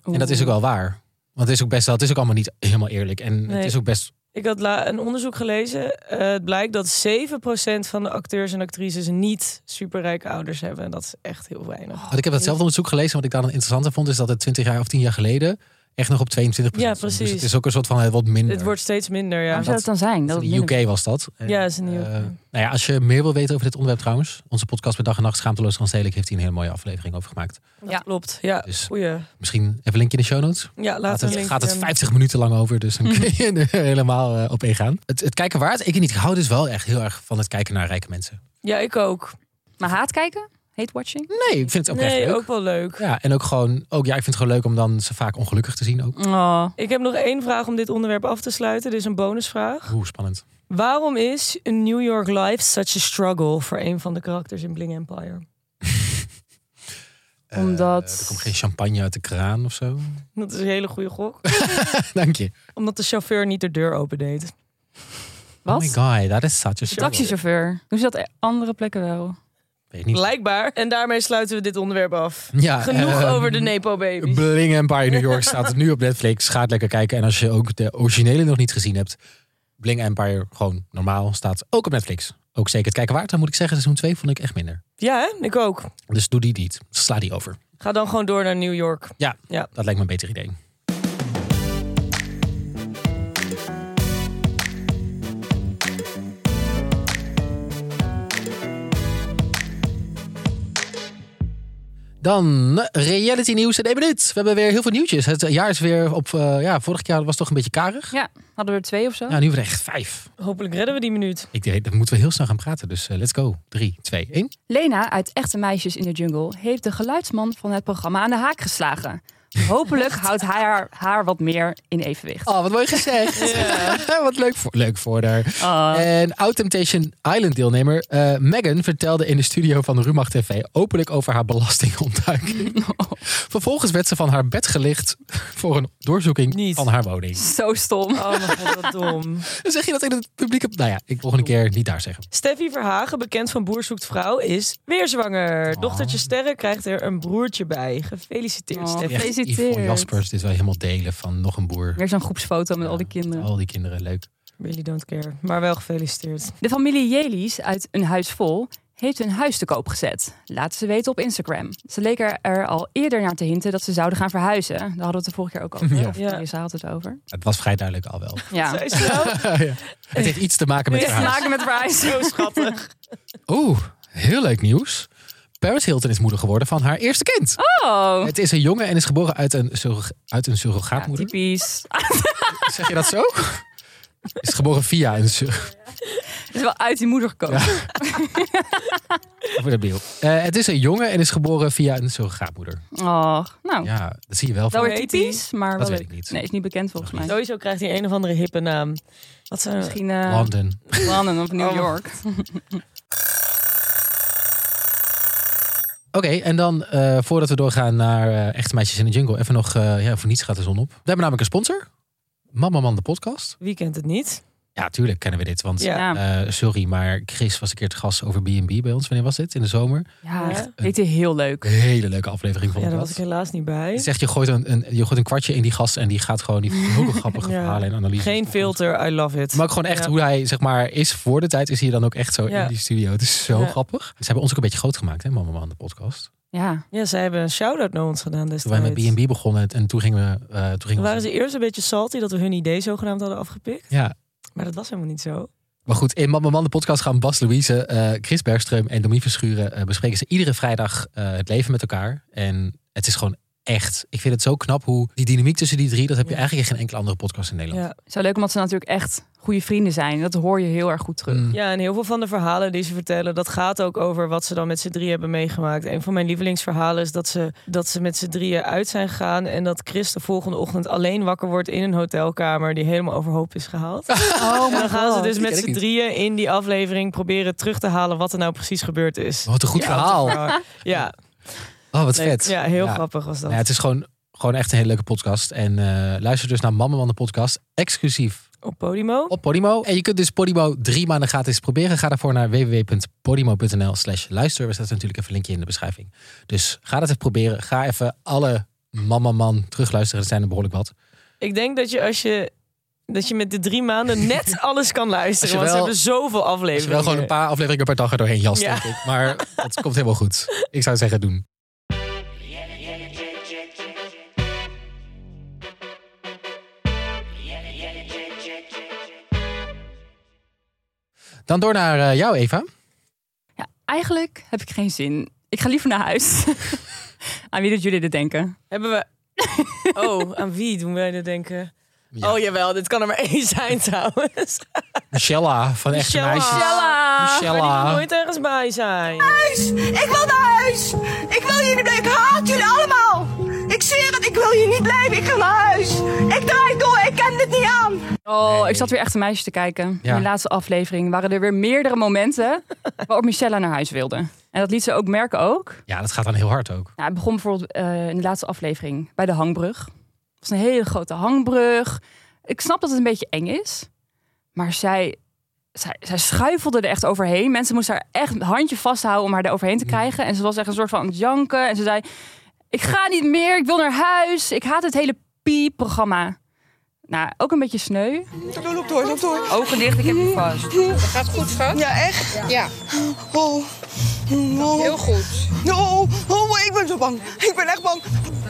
[SPEAKER 3] en dat is ook wel waar. Want het is ook best wel, het is ook allemaal niet helemaal eerlijk en
[SPEAKER 4] Nee.
[SPEAKER 3] het is ook best
[SPEAKER 4] Ik had la- een onderzoek gelezen. eh, het blijkt dat 7% van de acteurs en actrices niet superrijke ouders hebben. En dat is echt heel weinig.
[SPEAKER 3] want ik heb datzelfde onderzoek gelezen wat ik daar dan interessant aan vond is dat het 20 jaar of 10 jaar geleden echt nog op 22
[SPEAKER 4] Ja,
[SPEAKER 3] stond. Dus
[SPEAKER 4] precies.
[SPEAKER 3] het is ook een soort van eh, wat minder.
[SPEAKER 4] Het wordt steeds minder, ja.
[SPEAKER 2] Hoe zou het dan zijn? Dat het
[SPEAKER 3] In de
[SPEAKER 2] minder-
[SPEAKER 3] UK was dat. En,
[SPEAKER 4] Ja, is in de UK.
[SPEAKER 3] eh, nou ja, als je meer wil weten over dit onderwerp trouwens, onze podcast bij Dag en Nacht Schaamteloos Randstedelijk heeft hier een hele mooie aflevering over gemaakt.
[SPEAKER 4] Dat klopt. Ja,
[SPEAKER 3] Dus-
[SPEAKER 4] goeie. Ja,
[SPEAKER 3] Misschien even een linkje in de show notes.
[SPEAKER 4] laten
[SPEAKER 3] Gaat
[SPEAKER 4] we een
[SPEAKER 3] het,
[SPEAKER 4] linkje
[SPEAKER 3] gaat het
[SPEAKER 4] doen.
[SPEAKER 3] 50 minuten lang over, dus
[SPEAKER 4] [laughs]
[SPEAKER 3] dan kun je er helemaal eh, op ingaan. Het, het kijken waard, ik niet. Ik hou dus wel echt heel erg van het kijken naar rijke mensen.
[SPEAKER 4] Ja, ik ook.
[SPEAKER 2] Maar haat kijken? Hate watching?
[SPEAKER 3] Nee, ik vind het oprecht
[SPEAKER 4] Nee,
[SPEAKER 3] leuk.
[SPEAKER 4] ook wel leuk.
[SPEAKER 3] Ja, en ook gewoon, ook ja, ik vind het gewoon leuk om dan ze vaak ongelukkig te zien ook.
[SPEAKER 2] Oh,
[SPEAKER 4] Ik heb nog één vraag om dit onderwerp af te sluiten. Dit is een bonusvraag.
[SPEAKER 3] Oeh, spannend.
[SPEAKER 4] Waarom is een New York life such a struggle voor een van de karakters in Bling Empire?
[SPEAKER 3] Eh,
[SPEAKER 2] Omdat-
[SPEAKER 3] er komt geen champagne uit de kraan of zo.
[SPEAKER 4] Dat is een hele goede
[SPEAKER 3] [laughs]
[SPEAKER 4] gok.
[SPEAKER 3] Dank je.
[SPEAKER 4] Omdat de chauffeur niet de deur opendeed.
[SPEAKER 3] Oh
[SPEAKER 2] wat?
[SPEAKER 3] my god, that is such a show.
[SPEAKER 2] Taxichauffeur. Doen ze dat e- andere plekken wel?
[SPEAKER 3] Weet niet.
[SPEAKER 4] Blijkbaar. En daarmee sluiten we dit onderwerp af.
[SPEAKER 3] Ja,
[SPEAKER 4] Genoeg
[SPEAKER 3] ehm,
[SPEAKER 4] over de Nepo-baby.
[SPEAKER 3] Bling Empire New York staat nu op Netflix. Ga het lekker kijken. En als je ook de originele nog niet gezien hebt, Bling Empire gewoon normaal staat ook op Netflix. Ook zeker het kijken waard. Dan moet ik zeggen, seizoen 2 vond ik echt minder.
[SPEAKER 4] Ja, hè? ik ook.
[SPEAKER 3] Dus doe die niet. Sla die over.
[SPEAKER 4] Ga dan gewoon door naar New York.
[SPEAKER 3] Ja,
[SPEAKER 4] Ja.
[SPEAKER 3] dat lijkt me een beter idee. Dan eh, reality nieuws in één minuut. We hebben weer heel veel nieuwtjes. Het jaar is weer op. eh, ja, vorig jaar was het toch een beetje karig.
[SPEAKER 2] Ja, hadden we er twee of zo?
[SPEAKER 3] Nou, nu weer echt vijf.
[SPEAKER 4] Hopelijk redden we die minuut.
[SPEAKER 3] Ik denk, dan moeten we heel snel gaan praten. Dus eh, let's go. Drie, twee, één.
[SPEAKER 2] Lena uit Echte Meisjes in de Jungle heeft de geluidsman van het programma aan de haak
[SPEAKER 3] [laughs]
[SPEAKER 2] geslagen. Hopelijk houdt hij haar, haar wat meer in evenwicht.
[SPEAKER 3] Oh, wat mooi
[SPEAKER 4] [laughs]
[SPEAKER 3] gezegd. [laughs] wat leuk voor, leuk voor haar.
[SPEAKER 4] Oh.
[SPEAKER 3] En Out-Temptation Island deelnemer eh, Megan vertelde in de studio van Rumach TV openlijk over haar
[SPEAKER 4] [laughs]
[SPEAKER 3] belastingontduiking. Vervolgens werd ze van haar bed gelicht voor een doorzoeking
[SPEAKER 4] Niet.
[SPEAKER 3] van haar woning.
[SPEAKER 4] [laughs]
[SPEAKER 2] Zo stom.
[SPEAKER 4] Oh mijn god, wat dom.
[SPEAKER 3] Dan zeg je dat in het publiek. Nou ja, ik volgende keer niet daar zeggen.
[SPEAKER 4] [laughs] Steffi Verhagen, bekend van Boer zoekt vrouw, is weer zwanger.
[SPEAKER 3] Oh.
[SPEAKER 4] Dochtertje Sterre krijgt er een broertje bij. Gefeliciteerd,
[SPEAKER 2] Oh.
[SPEAKER 4] Steffi.
[SPEAKER 2] Ja.
[SPEAKER 3] Echt
[SPEAKER 2] Gefeliciteerd.
[SPEAKER 3] Yvonne Jaspers, dit wel helemaal delen van nog een boer.
[SPEAKER 2] Weer zo'n groepsfoto met al die kinderen.
[SPEAKER 3] Al die kinderen, leuk.
[SPEAKER 4] Really don't care. Maar wel [laughs] gefeliciteerd.
[SPEAKER 2] De familie Jelies uit Een Huis Vol heeft hun huis te koop gezet. Laten ze weten op Instagram. Ze leken er al eerder naar te hinten dat ze zouden gaan verhuizen. Daar hadden we het de vorige keer ook over.
[SPEAKER 3] Ja.
[SPEAKER 2] Of
[SPEAKER 4] Ja.
[SPEAKER 2] Marissa had het over.
[SPEAKER 3] Het was vrij duidelijk al wel.
[SPEAKER 2] Ja.
[SPEAKER 4] Zij is zo-
[SPEAKER 3] Ja. Het heeft iets te maken met
[SPEAKER 4] Ja.
[SPEAKER 3] verhaal.
[SPEAKER 2] Maken met verhuizen.
[SPEAKER 4] zo schattig.
[SPEAKER 3] Oeh, heel leuk nieuws. Paris Hilton is moeder geworden van haar eerste kind.
[SPEAKER 2] Oh.
[SPEAKER 3] Het is een jongen en is geboren uit een, surrog- uit een
[SPEAKER 2] Ja,
[SPEAKER 3] surrogaatmoeder.
[SPEAKER 2] typisch. Ah,
[SPEAKER 3] zeg je dat zo? [laughs] Is geboren via een sur-
[SPEAKER 2] Het is wel uit die moeder gekomen.
[SPEAKER 3] Voor de beeld. Eh, het is een jongen en is geboren via een surrogaatmoeder.
[SPEAKER 2] Oh, nou.
[SPEAKER 3] Ja, dat zie je wel.
[SPEAKER 2] Wel
[SPEAKER 3] van-
[SPEAKER 2] weer typisch, maar wel
[SPEAKER 3] Dat weet
[SPEAKER 2] leuk.
[SPEAKER 3] ik niet.
[SPEAKER 2] Nee, is niet bekend volgens mij.
[SPEAKER 4] Sowieso krijgt hij een of andere hippe naam. Wat zijn we?
[SPEAKER 2] Misschien eh
[SPEAKER 3] London.
[SPEAKER 2] London of New
[SPEAKER 4] Oh.
[SPEAKER 2] York.
[SPEAKER 3] Oké, en dan eh, voordat we doorgaan naar eh, Echte Meisjes in de Jungle, even nog, eh, ja, voor niets gaat de zon op. We hebben namelijk een sponsor. Mama Man de podcast.
[SPEAKER 4] Wie kent het niet?
[SPEAKER 3] Ja, tuurlijk kennen we dit. Want
[SPEAKER 4] Ja.
[SPEAKER 2] Ja.
[SPEAKER 3] eh, sorry, maar Chris was een keer te gast over B&B bij ons. Wanneer was dit? In de zomer.
[SPEAKER 2] Ja,
[SPEAKER 4] Echt
[SPEAKER 2] deed hij heel leuk.
[SPEAKER 3] Hele leuke aflevering vond
[SPEAKER 4] Ja,
[SPEAKER 3] ik
[SPEAKER 4] daar
[SPEAKER 3] dat.
[SPEAKER 4] was ik helaas niet bij.
[SPEAKER 3] Zeg, je gooit een, een, je gooit een kwartje in die gast en die gaat
[SPEAKER 4] [laughs]
[SPEAKER 3] gewoon die heel grappige
[SPEAKER 4] Ja.
[SPEAKER 3] verhalen en analyses.
[SPEAKER 4] Geen filter, I love it.
[SPEAKER 3] Maar ook gewoon echt
[SPEAKER 4] Ja.
[SPEAKER 3] hoe hij zeg maar is voor de tijd, is hij dan ook echt zo
[SPEAKER 4] Ja.
[SPEAKER 3] in die studio. Het is zo
[SPEAKER 4] Ja.
[SPEAKER 3] grappig. Ze hebben ons ook een beetje groot gemaakt, hè, Mama Man, de podcast.
[SPEAKER 2] Ja,
[SPEAKER 4] Ja, zij hebben een shout-out naar ons gedaan
[SPEAKER 3] Toen
[SPEAKER 4] destijds.
[SPEAKER 3] wij met B&B begonnen en toen gingen we... eh, toen
[SPEAKER 4] Dan
[SPEAKER 3] gingen we
[SPEAKER 4] waren ze eerst een beetje salty dat we hun idee zogenaamd hadden afgepikt.
[SPEAKER 3] Ja,
[SPEAKER 4] Maar dat was helemaal niet zo.
[SPEAKER 3] maar goed. In Mama Man, de podcast gaan Bas Louise, eh, Chris Bergström en Domien Verschuren eh, bespreken ze iedere vrijdag eh, het leven met elkaar. En het is gewoon echt... Ik vind het zo knap hoe die dynamiek tussen die drie, dat heb je
[SPEAKER 4] Ja.
[SPEAKER 3] eigenlijk in geen enkele andere podcast in Nederland.
[SPEAKER 4] Ja.
[SPEAKER 2] zo leuk omdat ze natuurlijk echt goede vrienden zijn. Dat hoor je heel erg goed terug.
[SPEAKER 3] Mm.
[SPEAKER 4] ja, en heel veel van de verhalen die ze vertellen, dat gaat ook over wat ze dan met z'n drieën hebben meegemaakt. Een van mijn lievelingsverhalen is dat ze, dat ze met z'n drieën uit zijn gegaan en dat Chris de volgende ochtend alleen wakker wordt in een hotelkamer die helemaal overhoop is gehaald. [laughs]
[SPEAKER 2] Oh,
[SPEAKER 4] En dan gaan ze dus
[SPEAKER 3] die
[SPEAKER 4] met
[SPEAKER 3] ken ik
[SPEAKER 4] z'n
[SPEAKER 3] niet.
[SPEAKER 4] drieën in die aflevering proberen terug te halen wat er nou precies gebeurd is.
[SPEAKER 3] Wat een goed verhaal.
[SPEAKER 4] Ja,
[SPEAKER 3] Oh, wat
[SPEAKER 4] nee,
[SPEAKER 3] vet.
[SPEAKER 4] ja heel
[SPEAKER 3] Ja.
[SPEAKER 4] grappig was dat.
[SPEAKER 3] Nou ja, het is gewoon, gewoon echt een hele leuke podcast. En eh, luister dus naar Mama Man de podcast. Exclusief
[SPEAKER 4] Op Podimo.
[SPEAKER 3] op Podimo. En je kunt dus Podimo drie maanden gratis proberen. Ga daarvoor naar www.podimo.nl slash luister. We zetten natuurlijk even een linkje in de beschrijving. Dus ga dat even proberen. Ga even alle Mama Man terugluisteren. Er zijn er behoorlijk wat.
[SPEAKER 4] Ik denk dat je als je dat je met de drie
[SPEAKER 3] [laughs]
[SPEAKER 4] maanden net alles kan
[SPEAKER 3] Als
[SPEAKER 4] luisteren.
[SPEAKER 3] je
[SPEAKER 4] Want ze
[SPEAKER 3] wel-
[SPEAKER 4] hebben zoveel
[SPEAKER 3] Dus
[SPEAKER 4] afleveringen.
[SPEAKER 3] wel gewoon een paar afleveringen per dag er doorheen jas,
[SPEAKER 4] Ja.
[SPEAKER 3] denk ik. Maar dat komt helemaal goed. Ik zou zeggen doen. Dan door naar eh, jou, Eva.
[SPEAKER 2] Ja, eigenlijk heb ik geen zin. Ik ga liever naar huis. Aan wie dat jullie dit denken?
[SPEAKER 4] Hebben we. [laughs] Oh, aan wie doen wij dat denken?
[SPEAKER 3] Ja.
[SPEAKER 4] Oh jawel, dit kan er maar één
[SPEAKER 3] [laughs]
[SPEAKER 4] zijn trouwens.
[SPEAKER 3] Michella van Echte
[SPEAKER 4] Michella.
[SPEAKER 3] Meisjes.
[SPEAKER 2] Jella!
[SPEAKER 4] Maar die moet
[SPEAKER 3] Michella.
[SPEAKER 4] nooit ergens bij zijn.
[SPEAKER 7] Ik wil naar huis. Ik wil hier niet blijven. Ik haat jullie allemaal. Ik zweer het, ik wil hier niet blijven. Ik ga naar huis. Ik draai door. Ik ken dit niet aan.
[SPEAKER 2] Oh, ik zat weer echt een meisje te kijken.
[SPEAKER 3] Ja.
[SPEAKER 2] In de laatste aflevering waren er weer meerdere momenten waarop Michelle naar huis wilde. En dat liet ze ook merken ook.
[SPEAKER 3] Ja, dat gaat dan heel hard ook.
[SPEAKER 2] Nou, het begon bijvoorbeeld eh, in de laatste aflevering bij de hangbrug. Het was een hele grote hangbrug. Ik snap dat het een beetje eng is. Maar zij, zij, zij schuifelde er echt overheen. Mensen moesten haar echt een handje vasthouden om haar er overheen te krijgen. En ze was echt een soort van aan het janken. En ze zei, ik ga niet meer, ik wil naar huis. Ik haat het hele pie-programma. Nou, ook een beetje sneu.
[SPEAKER 7] Loop door, loop door.
[SPEAKER 8] Ogen dicht, ik heb je vast. Gaat goed, schat?
[SPEAKER 7] Ja, echt?
[SPEAKER 8] Ja,
[SPEAKER 7] Oh. Oh.
[SPEAKER 8] heel goed.
[SPEAKER 7] Oh, oh, oh, ik ben zo bang. Ik ben echt bang.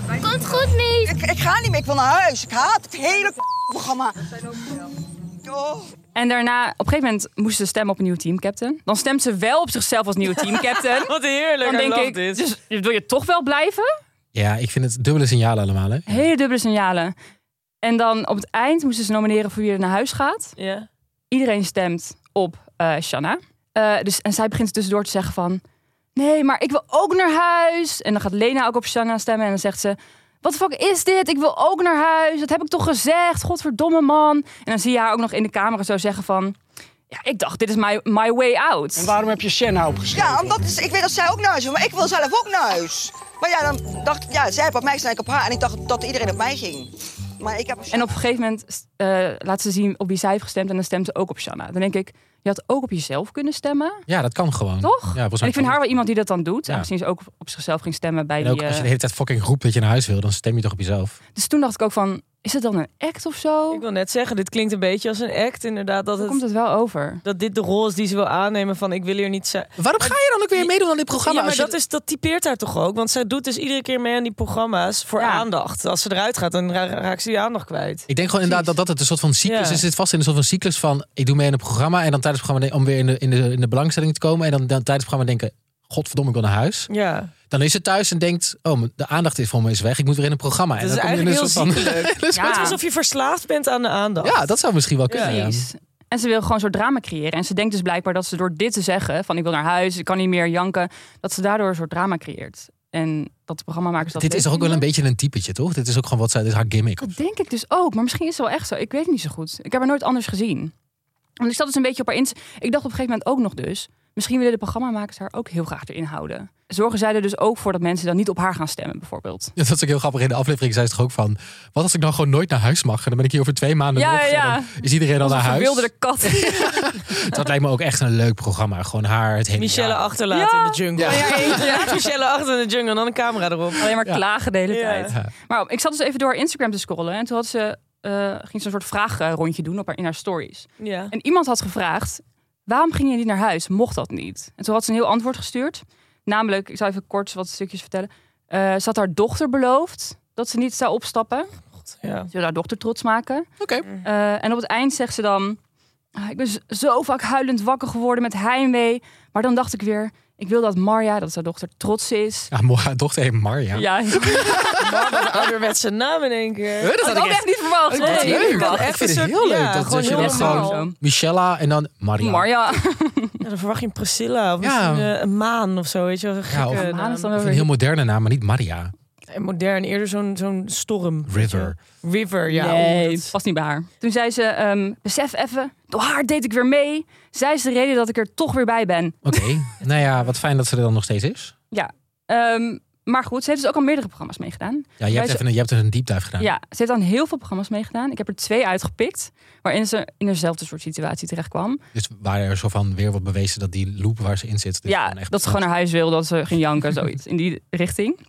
[SPEAKER 9] Komt goed, niet.
[SPEAKER 7] Ik, ik ga niet meer. Ik wil naar huis. Ik haat het hele programma. Oh.
[SPEAKER 2] En daarna, op een gegeven moment moest ze stemmen op een nieuw teamcaptain. Dan stemt ze wel op zichzelf als nieuwe
[SPEAKER 8] [laughs]
[SPEAKER 2] teamcaptain.
[SPEAKER 4] Wat heerlijk.
[SPEAKER 2] Dan
[SPEAKER 4] I
[SPEAKER 2] denk
[SPEAKER 4] love
[SPEAKER 2] ik,
[SPEAKER 4] this.
[SPEAKER 2] dus wil je toch wel blijven?
[SPEAKER 3] Ja, ik vind het dubbele signalen allemaal. Hè?
[SPEAKER 2] Hele dubbele signalen. En dan op het eind moesten ze nomineren voor wie er naar huis gaat.
[SPEAKER 4] Ja.
[SPEAKER 2] Iedereen stemt op eh Shanna. Eh, dus, en zij begint tussendoor te zeggen van... Nee, maar ik wil ook naar huis. En dan gaat Lena ook op Shanna stemmen. En dan zegt ze... Wat de fuck is dit? Ik wil ook naar huis. Dat heb ik toch gezegd? Godverdomme man. En dan zie je haar ook nog in de camera zo zeggen van... Ja, ik dacht, dit is my, my way out.
[SPEAKER 10] Waarom heb je Shanna opgeschreven?
[SPEAKER 7] Ja, omdat is- ik weet dat zij ook naar huis wil, maar ik wil zelf ook naar huis. Maar ja, dan dacht ik, ja, zij heeft op mij gestaan, ik op haar. En ik dacht dat iedereen op mij ging. Maar ik heb...
[SPEAKER 2] En op een gegeven moment eh, laat ze zien op wie zij heeft gestemd. En dan stemt ze ook op Shanna. Dan denk ik, je had ook op jezelf kunnen stemmen.
[SPEAKER 3] Ja, dat kan gewoon.
[SPEAKER 2] Toch?
[SPEAKER 3] Ja, volgens
[SPEAKER 2] en
[SPEAKER 3] mij
[SPEAKER 2] ik vind
[SPEAKER 3] kan
[SPEAKER 2] haar
[SPEAKER 3] dat.
[SPEAKER 2] wel iemand die dat dan doet.
[SPEAKER 3] Ja.
[SPEAKER 2] En misschien ze ook op zichzelf ging stemmen bij
[SPEAKER 3] En
[SPEAKER 2] die...
[SPEAKER 3] ook als je
[SPEAKER 2] eh,
[SPEAKER 3] de hele tijd fucking roept dat je naar huis wil, dan stem je toch op jezelf.
[SPEAKER 2] Dus toen dacht ik ook van, is het dan een act of zo?
[SPEAKER 4] Ik wil net zeggen, dit klinkt een beetje als een act inderdaad. Dat,
[SPEAKER 2] Zo
[SPEAKER 4] het,
[SPEAKER 2] komt het wel over.
[SPEAKER 4] dat dit de rol is die ze wil aannemen van ik wil hier niet zijn.
[SPEAKER 3] Waarom ga je dan ook weer meedoen aan dit programma?
[SPEAKER 4] Ja, maar
[SPEAKER 3] als je-
[SPEAKER 4] dat, is, dat typeert haar toch ook? Want zij doet dus iedere keer mee aan die programma's voor
[SPEAKER 2] Ja.
[SPEAKER 4] aandacht. Als ze eruit gaat, dan ra- raakt ze die aandacht kwijt.
[SPEAKER 3] Ik denk gewoon inderdaad dat dat het een soort van cyclus is.
[SPEAKER 4] Ja.
[SPEAKER 3] Het zit vast in een soort van cyclus van... ik doe mee in een programma en dan tijdens het programma... om weer in de, in de, in de belangstelling te komen... en dan, dan tijdens het programma denken... godverdomme, ik wil naar huis.
[SPEAKER 4] Ja,
[SPEAKER 3] Dan is het thuis en denkt... oh, de aandacht is voor me is weg. Ik moet weer in een programma. En
[SPEAKER 4] dat is
[SPEAKER 3] dan kom je in
[SPEAKER 4] eigenlijk heel
[SPEAKER 3] een soort van-
[SPEAKER 4] ziekelijk. Het is
[SPEAKER 2] Ja,
[SPEAKER 4] alsof je verslaafd bent aan de aandacht.
[SPEAKER 3] Ah. [laughs] Ja, dat zou misschien wel kunnen. ja.
[SPEAKER 2] precies. En ze wil gewoon zo'n drama creëren. En ze denkt dus blijkbaar dat ze door dit te zeggen... van ik wil naar huis, ik kan niet meer janken... dat ze daardoor een soort drama creëert. En dat de programmamakers dat
[SPEAKER 3] Dit is
[SPEAKER 2] leuk
[SPEAKER 3] toch ook wel een
[SPEAKER 2] vinden.
[SPEAKER 3] beetje een typetje, toch? Dit is ook gewoon wat zij... Dit is haar gimmick. [laughs]
[SPEAKER 2] Dat denk ik dus ook. Maar misschien is het wel echt zo. Ik weet het niet zo goed. Ik heb haar nooit anders gezien. Want ik zat dus een beetje op haar in. Ik dacht op een gegeven moment ook nog dus... Misschien willen de programmamakers haar ook heel graag erin houden. Zorgen zij er dus ook voor dat mensen dan niet op haar gaan stemmen, bijvoorbeeld?
[SPEAKER 3] Ja, dat is ook heel grappig. In de aflevering zei ze toch ook van... Wat als ik dan gewoon nooit naar huis mag? En dan ben ik hier over twee maanden
[SPEAKER 2] Ja,
[SPEAKER 3] nog. en
[SPEAKER 2] ja.
[SPEAKER 3] dan Is iedereen al naar
[SPEAKER 2] Onze
[SPEAKER 3] huis?
[SPEAKER 2] verwilderde
[SPEAKER 4] [laughs]
[SPEAKER 2] kat. [laughs]
[SPEAKER 3] Dat lijkt me ook echt een leuk programma. Gewoon haar het hele
[SPEAKER 4] Michelle
[SPEAKER 3] jaar.
[SPEAKER 4] achterlaat
[SPEAKER 2] Ja.
[SPEAKER 4] in de jungle.
[SPEAKER 3] Ja.
[SPEAKER 2] [laughs]
[SPEAKER 4] Laat Michelle achter in de jungle en dan een camera erop.
[SPEAKER 2] Alleen maar klagen de hele
[SPEAKER 4] Ja.
[SPEAKER 2] tijd. Maar ik zat dus even door haar Instagram te scrollen. En toen had ze, eh, ging ze een soort vraagrondje doen op haar, in haar stories.
[SPEAKER 4] Ja.
[SPEAKER 2] En iemand had gevraagd: waarom gingen jullie naar huis? Mocht dat niet? En toen had ze een heel antwoord gestuurd. Namelijk, ik zal even kort wat stukjes vertellen. Eh ze had haar dochter beloofd dat ze niet zou opstappen.
[SPEAKER 4] ja.
[SPEAKER 2] Ze wil haar dochter trots maken.
[SPEAKER 3] Oké.
[SPEAKER 2] Eh, en op het eind zegt ze dan: "Ah, Ik ben z- zo vaak huilend wakker geworden met heimwee. Maar dan dacht ik weer: Ik wil dat Marja, dat is haar dochter, trots is.
[SPEAKER 3] Ja, Ah, mo- haar dochter heet Marja.
[SPEAKER 2] Ja, [laughs] ik had
[SPEAKER 4] Maar wat een ouderwetse naam in één keer.
[SPEAKER 3] Huh, dat had
[SPEAKER 2] ik ook echt niet verwacht.
[SPEAKER 4] Nee,
[SPEAKER 3] Wat
[SPEAKER 4] ik
[SPEAKER 3] leuk.
[SPEAKER 4] had
[SPEAKER 3] Ik
[SPEAKER 4] echt
[SPEAKER 3] vind
[SPEAKER 4] een
[SPEAKER 3] het
[SPEAKER 4] soort-
[SPEAKER 3] heel leuk
[SPEAKER 4] ja,
[SPEAKER 3] dat- dat
[SPEAKER 4] gewoon
[SPEAKER 3] je
[SPEAKER 4] heel
[SPEAKER 3] dat
[SPEAKER 4] normaal.
[SPEAKER 3] gewoon- Michella en dan Maria.
[SPEAKER 2] Marja.
[SPEAKER 4] Ja, dan verwacht je een Priscilla of
[SPEAKER 3] Ja.
[SPEAKER 4] misschien, eh, een maan of zo. Weet je wel, een gekke
[SPEAKER 3] of-
[SPEAKER 4] naam.
[SPEAKER 2] Maan is dan
[SPEAKER 3] Ik
[SPEAKER 2] wel
[SPEAKER 3] vind Een
[SPEAKER 2] weer-
[SPEAKER 3] heel moderne naam, maar niet Maria.
[SPEAKER 4] En modern, eerder zo'n zo'n storm. weet je wel.
[SPEAKER 3] River.
[SPEAKER 4] River, ja.
[SPEAKER 2] nee,
[SPEAKER 4] Oh, dat-
[SPEAKER 2] past niet bij haar. Toen zei ze, ehm, besef even, door haar deed ik weer mee. Zij is de reden dat ik er toch weer bij ben.
[SPEAKER 3] Oké. nou ja, wat fijn dat ze er dan nog steeds is.
[SPEAKER 2] Ehm, maar goed, ze heeft dus ook al meerdere programma's meegedaan.
[SPEAKER 3] Ja, je hebt
[SPEAKER 2] ze-
[SPEAKER 3] even een, je hebt een deep dive
[SPEAKER 2] Ja.
[SPEAKER 3] gedaan.
[SPEAKER 2] ze heeft aan heel veel programma's meegedaan. Ik heb er twee uitgepikt, waarin ze in dezelfde soort situatie terecht kwam.
[SPEAKER 3] Dus waar er zo van weer wordt bewezen dat die loop waar ze in zit... dit
[SPEAKER 2] ja,
[SPEAKER 3] gewoon echt
[SPEAKER 2] dat ze gewoon naar huis wil, dat ze ging janken, zoiets. In die richting.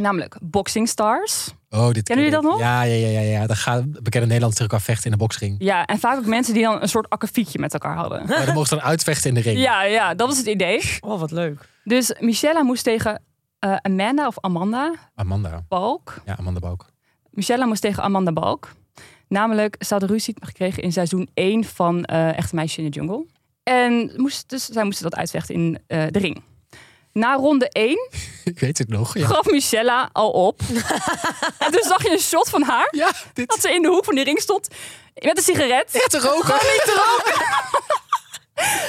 [SPEAKER 2] Namelijk Boxing Stars.
[SPEAKER 3] Oh, dit
[SPEAKER 2] Kennen jullie
[SPEAKER 3] ken
[SPEAKER 2] dat
[SPEAKER 3] ik. Ja, ja, ja, ja. ja. Dan gaan bekende Nederlanders tegen elkaar vechten in de boksring.
[SPEAKER 2] Ja, en vaak ook mensen die dan een soort akkefietje met elkaar hadden.
[SPEAKER 3] Maar dan mogen ze dan uitvechten in de ring.
[SPEAKER 2] Ja, ja, dat was het idee.
[SPEAKER 4] Oh, wat leuk.
[SPEAKER 2] Dus Michelle moest tegen eh, Amanda of Amanda
[SPEAKER 3] Amanda.
[SPEAKER 2] Balk.
[SPEAKER 3] Ja, Amanda Balk.
[SPEAKER 2] Michelle moest tegen Amanda Balk. Namelijk, ze had ruzie gekregen in seizoen 1 van eh Echte Meisje in de Jungle. En moest, dus, zij moesten dat uitvechten in eh, de ring. Na ronde 1
[SPEAKER 3] Ik weet het nog. Ja,
[SPEAKER 2] gaf Michelle al
[SPEAKER 4] [laughs]
[SPEAKER 2] op. en toen zag je een shot van haar.
[SPEAKER 3] ja dit
[SPEAKER 2] Dat ze in de hoek van die ring stond. Met een sigaret.
[SPEAKER 3] Ja, te roken.